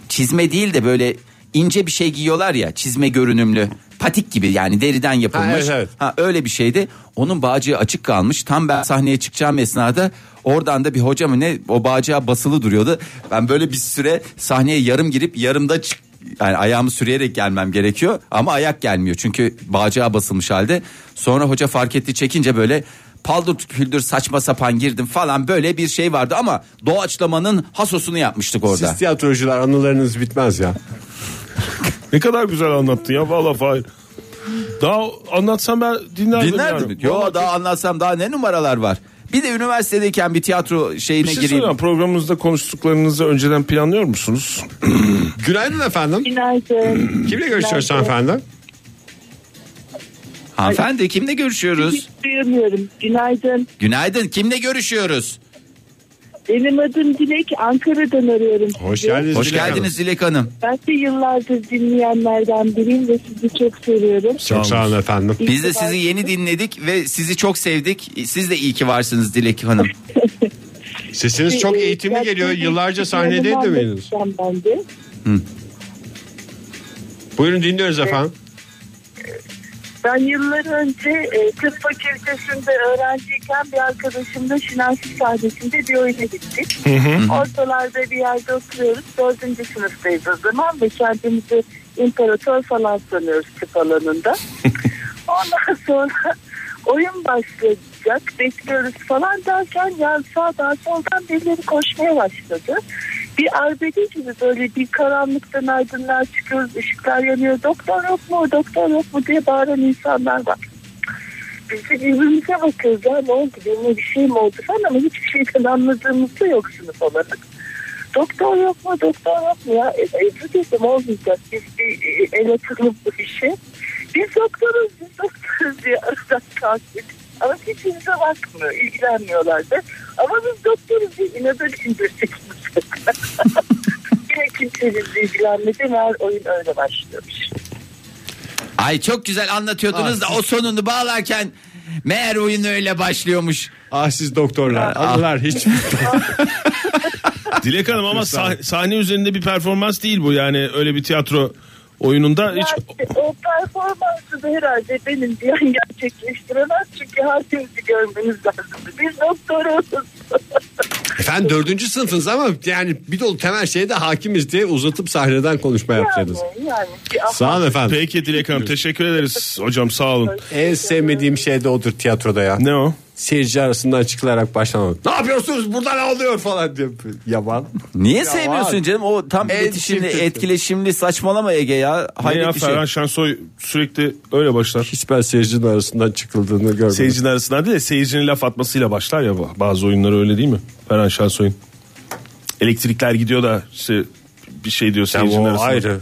Speaker 4: çizme değil de böyle ince bir şey giyiyorlar ya çizme görünümlü patik gibi yani deriden yapılmış.
Speaker 3: Ha, evet, evet.
Speaker 4: Ha, öyle bir şeydi. Onun bağcığı açık kalmış. Tam ben sahneye çıkacağım esnada Oradan da bir hoca mı ne o bağcığa basılı duruyordu. Ben böyle bir süre sahneye yarım girip yarımda çık yani ayağımı sürüyerek gelmem gerekiyor ama ayak gelmiyor çünkü bağcığa basılmış halde. Sonra hoca fark etti çekince böyle paldır küldür saçma sapan girdim falan böyle bir şey vardı ama doğaçlamanın hasosunu yapmıştık orada.
Speaker 3: Siz tiyatrocular anılarınız bitmez ya.
Speaker 5: Ne kadar güzel anlattın ya valla Fahir. Daha anlatsam ben dinlerdim.
Speaker 4: Dinlerdim.
Speaker 5: yani.
Speaker 4: Yo
Speaker 5: Vallahi
Speaker 4: daha anlatsam daha ne numaralar var. Bir de üniversitedeyken bir tiyatro şeyine
Speaker 5: bir şey
Speaker 4: gireyim.
Speaker 5: soracağım. Programınızda konuştuklarınızı önceden planlıyor musunuz?
Speaker 3: Günaydın efendim.
Speaker 8: Günaydın.
Speaker 3: Kimle görüşüyoruz hanımefendi?
Speaker 4: Hanımefendi kimle görüşüyoruz?
Speaker 8: Hiç duyamıyorum. Günaydın.
Speaker 4: Günaydın kimle görüşüyoruz?
Speaker 8: Benim adım Dilek. Ankara'dan arıyorum.
Speaker 3: Hoş
Speaker 8: sizi.
Speaker 3: geldiniz.
Speaker 4: Hoş
Speaker 3: Dilek Hanım.
Speaker 4: geldiniz Dilek Hanım.
Speaker 8: Ben de yıllardır dinleyenlerden biriyim ve sizi çok seviyorum.
Speaker 3: Çok sağ olun efendim.
Speaker 8: İyi
Speaker 4: Biz de
Speaker 8: ki
Speaker 4: sizi
Speaker 8: varsınız.
Speaker 4: yeni dinledik ve sizi çok sevdik. Siz de iyi ki varsınız Dilek Hanım.
Speaker 3: Sesiniz çok
Speaker 8: Ee,
Speaker 3: eğitimli
Speaker 8: gerçekten
Speaker 3: geliyor. Yıllarca sahnedeydi
Speaker 8: yanımdan
Speaker 3: miydiniz?
Speaker 8: geçen Ben de.
Speaker 3: Buyurun dinliyoruz efendim.
Speaker 8: Ben yıllar önce e, tıp fakültesinde öğrenciyken bir arkadaşımla Şinasi sahnesinde bir oyuna gittik. Ortalarda bir yerde oturuyoruz. Dördüncü sınıftayız o zaman ve kendimizi imparator falan sanıyoruz tıp alanında. Ondan sonra oyun başlayacak bekliyoruz falan derken yan sağdan soldan birileri koşmaya başladı. Bir arbede gibi böyle bir karanlıktan aydınlığa çıkıyoruz ışıklar yanıyor doktor yok mu doktor yok mu diye bağıran insanlar var. Biz de birbirimize bakıyoruz ya ne oldu birine bir şey mi oldu falan ama hiçbir şeyden anladığımız da yok sınıf olarak. Doktor yok mu doktor yok mu ya e, e, bu dedim olmayacak biz bir e, ele atılım bu işi. Biz doktoruz biz doktoruz diye aradan kalktık. Ama hiç bize bakmıyor ilgilenmiyorlar da. Ama biz doktoruz diye inadına indirdik. Yine kimse bizi ilgilenmedi meğer oyun öyle başlıyormuş.
Speaker 4: Ay çok güzel anlatıyordunuz da o sonunu bağlarken meğer oyun öyle başlıyormuş.
Speaker 3: Ah siz doktorlar. Anılar hiç.
Speaker 5: Dilek Hanım ama sah- sahne üzerinde bir performans değil bu yani öyle bir tiyatro oyununda hiç
Speaker 8: Yani o performansı da herhalde benim diyen gerçekleştiremez. Çünkü herkesi görmeniz lazım. Biz doktoruz.
Speaker 3: Efendim dördüncü sınıfınız ama yani bir dolu temel şeye de hakimiz diye uzatıp sahneden konuşma
Speaker 8: Yani,
Speaker 3: yapacaksınız.
Speaker 8: yani. Bir
Speaker 3: Sağ olun efendim.
Speaker 5: Peki Dilek Hanım teşekkür ederiz hocam sağ olun.
Speaker 3: En sevmediğim şey de odur tiyatroda ya.
Speaker 5: Ne o?
Speaker 3: Seyirci arasından çıkılarak başlamamak. Ne yapıyorsunuz burada ne oluyor falan diye. Yaban.
Speaker 4: Niye sevmiyorsun
Speaker 3: var.
Speaker 4: canım? O tam
Speaker 3: En
Speaker 4: iletişimli,
Speaker 3: çirkin.
Speaker 4: etkileşimli saçmalama Ege ya.
Speaker 5: Ne ya
Speaker 4: Hayret bir şey.
Speaker 5: Ferhan Şensoy sürekli öyle başlar.
Speaker 3: Hiç ben seyircinin arasından çıkıldığını görmedim.
Speaker 5: Seyircinin arasından değil de seyircinin laf atmasıyla başlar ya bu- bazı oyunlar öyle değil mi? Ferhan Şensoy'un. Elektrikler gidiyor da işte bir şey diyor
Speaker 3: Ama
Speaker 5: seyircinin
Speaker 3: o
Speaker 5: arasında.
Speaker 3: ayrı.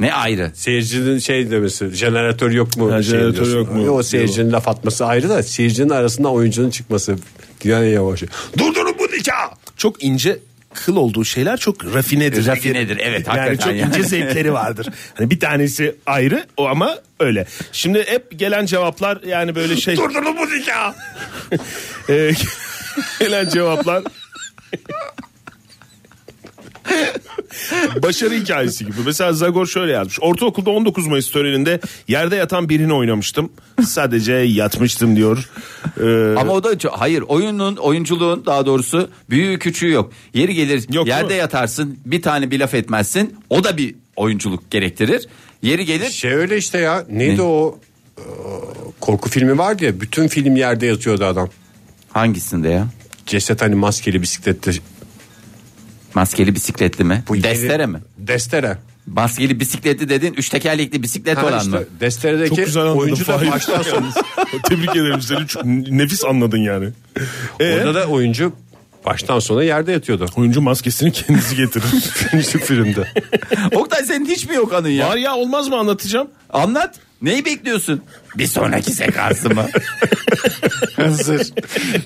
Speaker 4: Ne ayrı.
Speaker 3: Seyircinin şey demesi, jeneratör yok mu?
Speaker 5: Ha,
Speaker 3: şey
Speaker 5: jeneratör
Speaker 3: diyorsun.
Speaker 5: yok mu?
Speaker 3: O seyircinin laf atması ayrı da seyircinin arasından oyuncunun çıkması. Yani yavaş. Durdurun bu nikah!
Speaker 5: Çok ince kıl olduğu şeyler çok rafinedir.
Speaker 4: Rafinedir, evet, hakikaten
Speaker 5: yani çok
Speaker 4: yani.
Speaker 5: ince zevkleri vardır. Hani bir tanesi ayrı o ama öyle. Şimdi hep gelen cevaplar yani böyle şey.
Speaker 3: Durdurun bu nikah!
Speaker 5: Ee, gelen cevaplar başarı hikayesi gibi. Mesela Zagor şöyle yazmış. Ortaokulda 19 Mayıs töreninde yerde yatan birini oynamıştım. Sadece yatmıştım diyor. Ee,
Speaker 4: Ama o da ço- hayır oyunun oyunculuğun daha doğrusu büyüğü küçüğü yok. Yeri gelir
Speaker 5: değil
Speaker 4: yerde
Speaker 5: mi?
Speaker 4: yatarsın bir tane bir laf etmezsin o da bir oyunculuk gerektirir. Yeri gelir
Speaker 3: Şey öyle işte ya. Neydi
Speaker 4: Ne?
Speaker 3: o? Ee, Korku filmi vardı ya. Bütün film yerde yatıyordu adam.
Speaker 4: hangisinde ya?
Speaker 3: Ceset hani maskeli bisiklette.
Speaker 4: Maskeli bisikletli mi?
Speaker 3: Bu yeni-
Speaker 4: Destere mi?
Speaker 3: Destere.
Speaker 4: Maskeli bisikletli dedin üç tekerlekli bisiklet
Speaker 3: Ha
Speaker 4: olan
Speaker 3: işte,
Speaker 4: mı?
Speaker 3: Desteredeki
Speaker 5: çok güzel anladın.
Speaker 3: oyuncu da
Speaker 5: Fahir.
Speaker 3: baştan sona.
Speaker 5: Tebrik ederim seni. Çok nefis anladın yani. Ee,
Speaker 3: Orada da oyuncu baştan sona yerde yatıyordu.
Speaker 5: oyuncu maskesini kendisi getirir.
Speaker 3: Şu filmde.
Speaker 4: Oktay senin hiç mi yok anın ya?
Speaker 5: Var ya olmaz mı anlatacağım?
Speaker 4: Anlat. Neyi bekliyorsun? Bir sonraki sekansı mı?
Speaker 3: Hazır.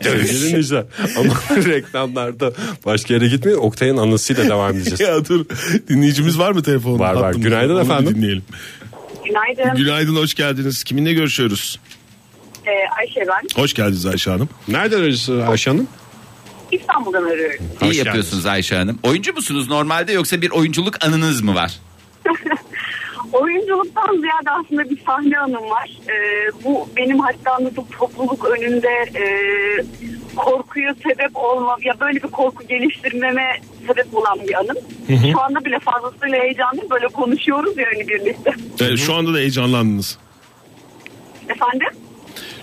Speaker 3: Sevgili Nisa, Ama reklamlarda başka yere gitmeyin. Oktay'ın anısıyla devam edeceğiz.
Speaker 5: ya dur. Dinleyicimiz var mı telefonda?
Speaker 3: Var, var.
Speaker 5: Hattımızda.
Speaker 3: Günaydın
Speaker 5: Onu bir
Speaker 3: efendim.
Speaker 5: Dinleyelim.
Speaker 8: Günaydın.
Speaker 5: Günaydın hoş geldiniz. Kiminle görüşüyoruz?
Speaker 8: Ee, Ayşe ben.
Speaker 5: Hoş geldiniz Ayşe Hanım.
Speaker 3: Nereden arıyorsun Ayşe Hanım?
Speaker 8: İstanbul'dan arıyorum.
Speaker 4: İyi yapıyorsunuz Ayşe Hanım. Oyuncu musunuz normalde yoksa bir oyunculuk anınız mı var?
Speaker 8: Oyunculuktan ziyade aslında bir sahne anım var. Ee, bu benim hatta anlatıp topluluk önünde e, korkuya sebep olma ya böyle bir korku geliştirmeme sebep olan bir anım. Şu anda bile fazlasıyla heyecanlıyım. Böyle konuşuyoruz yani birlikte.
Speaker 5: Ee, şu anda da heyecanlandınız.
Speaker 8: Efendim?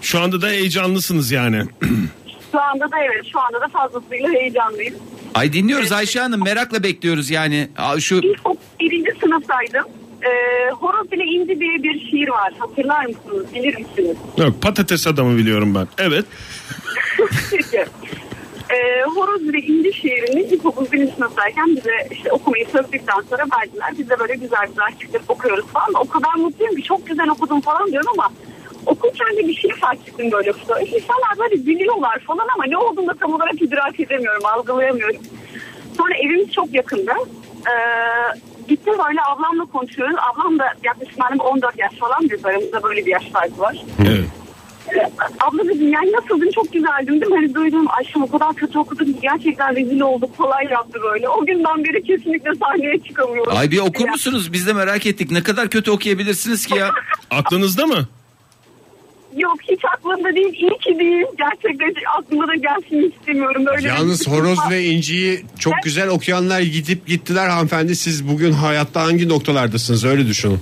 Speaker 5: Şu anda da heyecanlısınız yani.
Speaker 8: Şu anda da evet şu anda da fazlasıyla heyecanlıyım.
Speaker 4: Ay dinliyoruz Ayşe Hanım merakla bekliyoruz yani. Aa, Şu
Speaker 8: İlk birinci sınıftaydım. Ee, Horoz ile İnci diye bir şiir var. Hatırlar mısınız? Bilir misiniz?
Speaker 5: Yok, patates adamı biliyorum ben. Evet.
Speaker 8: Peki. Ee, Horoz ile İnci şiirini ilkokul birinci sınıftayken bize işte okumayı sözlükten sonra verdiler. Biz de böyle güzel güzel çıktık okuyoruz falan. O kadar mutluyum ki çok güzel okudum falan diyorum ama okurken de bir şey fark ettim böyle. İnsanlar böyle dinliyorlar falan ama ne olduğunu da tam olarak idrak edemiyorum, algılayamıyorum. Sonra evimiz çok yakında. Ee, gittim böyle ablamla konuşuyoruz. Ablam da yaklaşık benim 14 yaş falan biz aramızda böyle bir yaş farkı var.
Speaker 5: Evet.
Speaker 8: Abla dedim yani nasıldın çok güzeldin değil mi? Hani duydum aşkım o kadar kötü okudum ki gerçekten rezil olduk kolay yaptı böyle. O günden beri kesinlikle sahneye çıkamıyorum.
Speaker 4: Ay bir okur musunuz? Biz de merak ettik. Ne kadar kötü okuyabilirsiniz ki ya?
Speaker 5: Aklınızda mı?
Speaker 8: Yok hiç aklımda değil iyi ki değil. Gerçekten aklıma da gelsin istemiyorum. Böyle şey
Speaker 3: Yalnız horoz ve inciyi çok güzel okuyanlar gidip gittiler hanımefendi. Siz bugün hayatta hangi noktalardasınız öyle düşünün.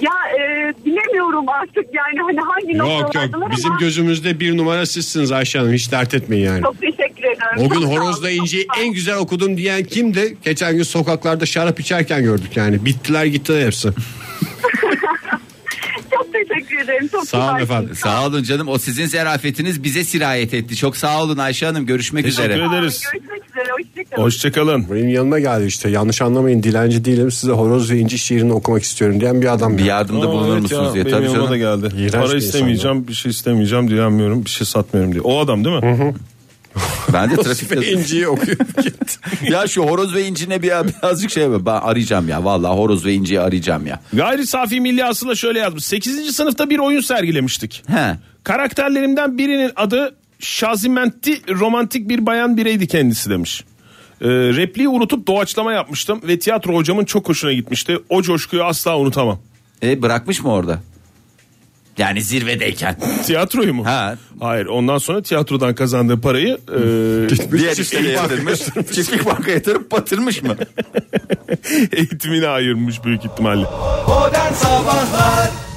Speaker 8: Ya e, bilemiyorum artık yani hani hangi
Speaker 3: Yok
Speaker 8: noktalardalar
Speaker 3: yok
Speaker 8: ama
Speaker 3: bizim gözümüzde bir numara sizsiniz Ayşe Hanım hiç dert etmeyin yani.
Speaker 8: çok teşekkür ederim.
Speaker 3: O gün
Speaker 8: Çok sağ olun,
Speaker 3: horozla
Speaker 8: çok
Speaker 3: inciyi
Speaker 8: sağ olun.
Speaker 3: en güzel okudum diyen kimdi? Geçen gün sokaklarda şarap içerken gördük yani. Bittiler gittiler hepsi.
Speaker 8: Çok teşekkür ederim. Çok
Speaker 3: Sağ olun
Speaker 8: güzel.
Speaker 3: efendim.
Speaker 4: Sağ olun canım. O sizin zerafetiniz bize sirayet etti. Çok sağ olun Ayşe Hanım. Görüşmek
Speaker 5: Teşekkür
Speaker 4: üzere.
Speaker 5: ederim.
Speaker 8: Sağ olun,
Speaker 5: Ederiz.
Speaker 8: Görüşmek üzere. Hoşçakalın.
Speaker 5: Hoşçakalın.
Speaker 3: Benim yanıma geldi işte yanlış anlamayın dilenci değilim size horoz ve inci şiirini okumak istiyorum diyen bir adam.
Speaker 4: Bir
Speaker 3: ya.
Speaker 4: yardımda
Speaker 5: Aa,
Speaker 4: bulunur
Speaker 5: evet
Speaker 4: musunuz
Speaker 5: ya,
Speaker 4: diye.
Speaker 5: benim
Speaker 4: Tabii
Speaker 5: yanıma
Speaker 4: canım.
Speaker 5: da geldi.
Speaker 3: İğrenç bir
Speaker 5: Para
Speaker 3: insan
Speaker 5: istemeyeceğim, bir şey istemeyeceğim, direnmiyorum, bir şey satmıyorum diye. O adam değil mi?
Speaker 4: Ben de trafikte.
Speaker 3: İnciyi okuyor.
Speaker 4: ya şu horoz ve incine bir birazcık şey yapayım. ben arayacağım ya. Vallahi horoz ve inciyi arayacağım ya.
Speaker 5: Gayri safi milli aslında şöyle yazmış. 8. sınıfta bir oyun sergilemiştik.
Speaker 4: He.
Speaker 5: Karakterlerimden birinin adı Şazimenti romantik bir bayan bireydi kendisi demiş. Ee, repliği unutup doğaçlama yapmıştım ve tiyatro hocamın çok hoşuna gitmişti. O coşkuyu asla unutamam.
Speaker 4: E bırakmış mı orada? Yani zirvedeyken.
Speaker 5: Tiyatroyu mu?
Speaker 4: Ha.
Speaker 5: Hayır ondan sonra tiyatrodan kazandığı parayı e,
Speaker 4: Diğer işlere yatırmış. Çiftlik banka yatırıp batırmış mı?
Speaker 5: eğitimine ayırmış büyük ihtimalle.
Speaker 2: Modern Sabahlar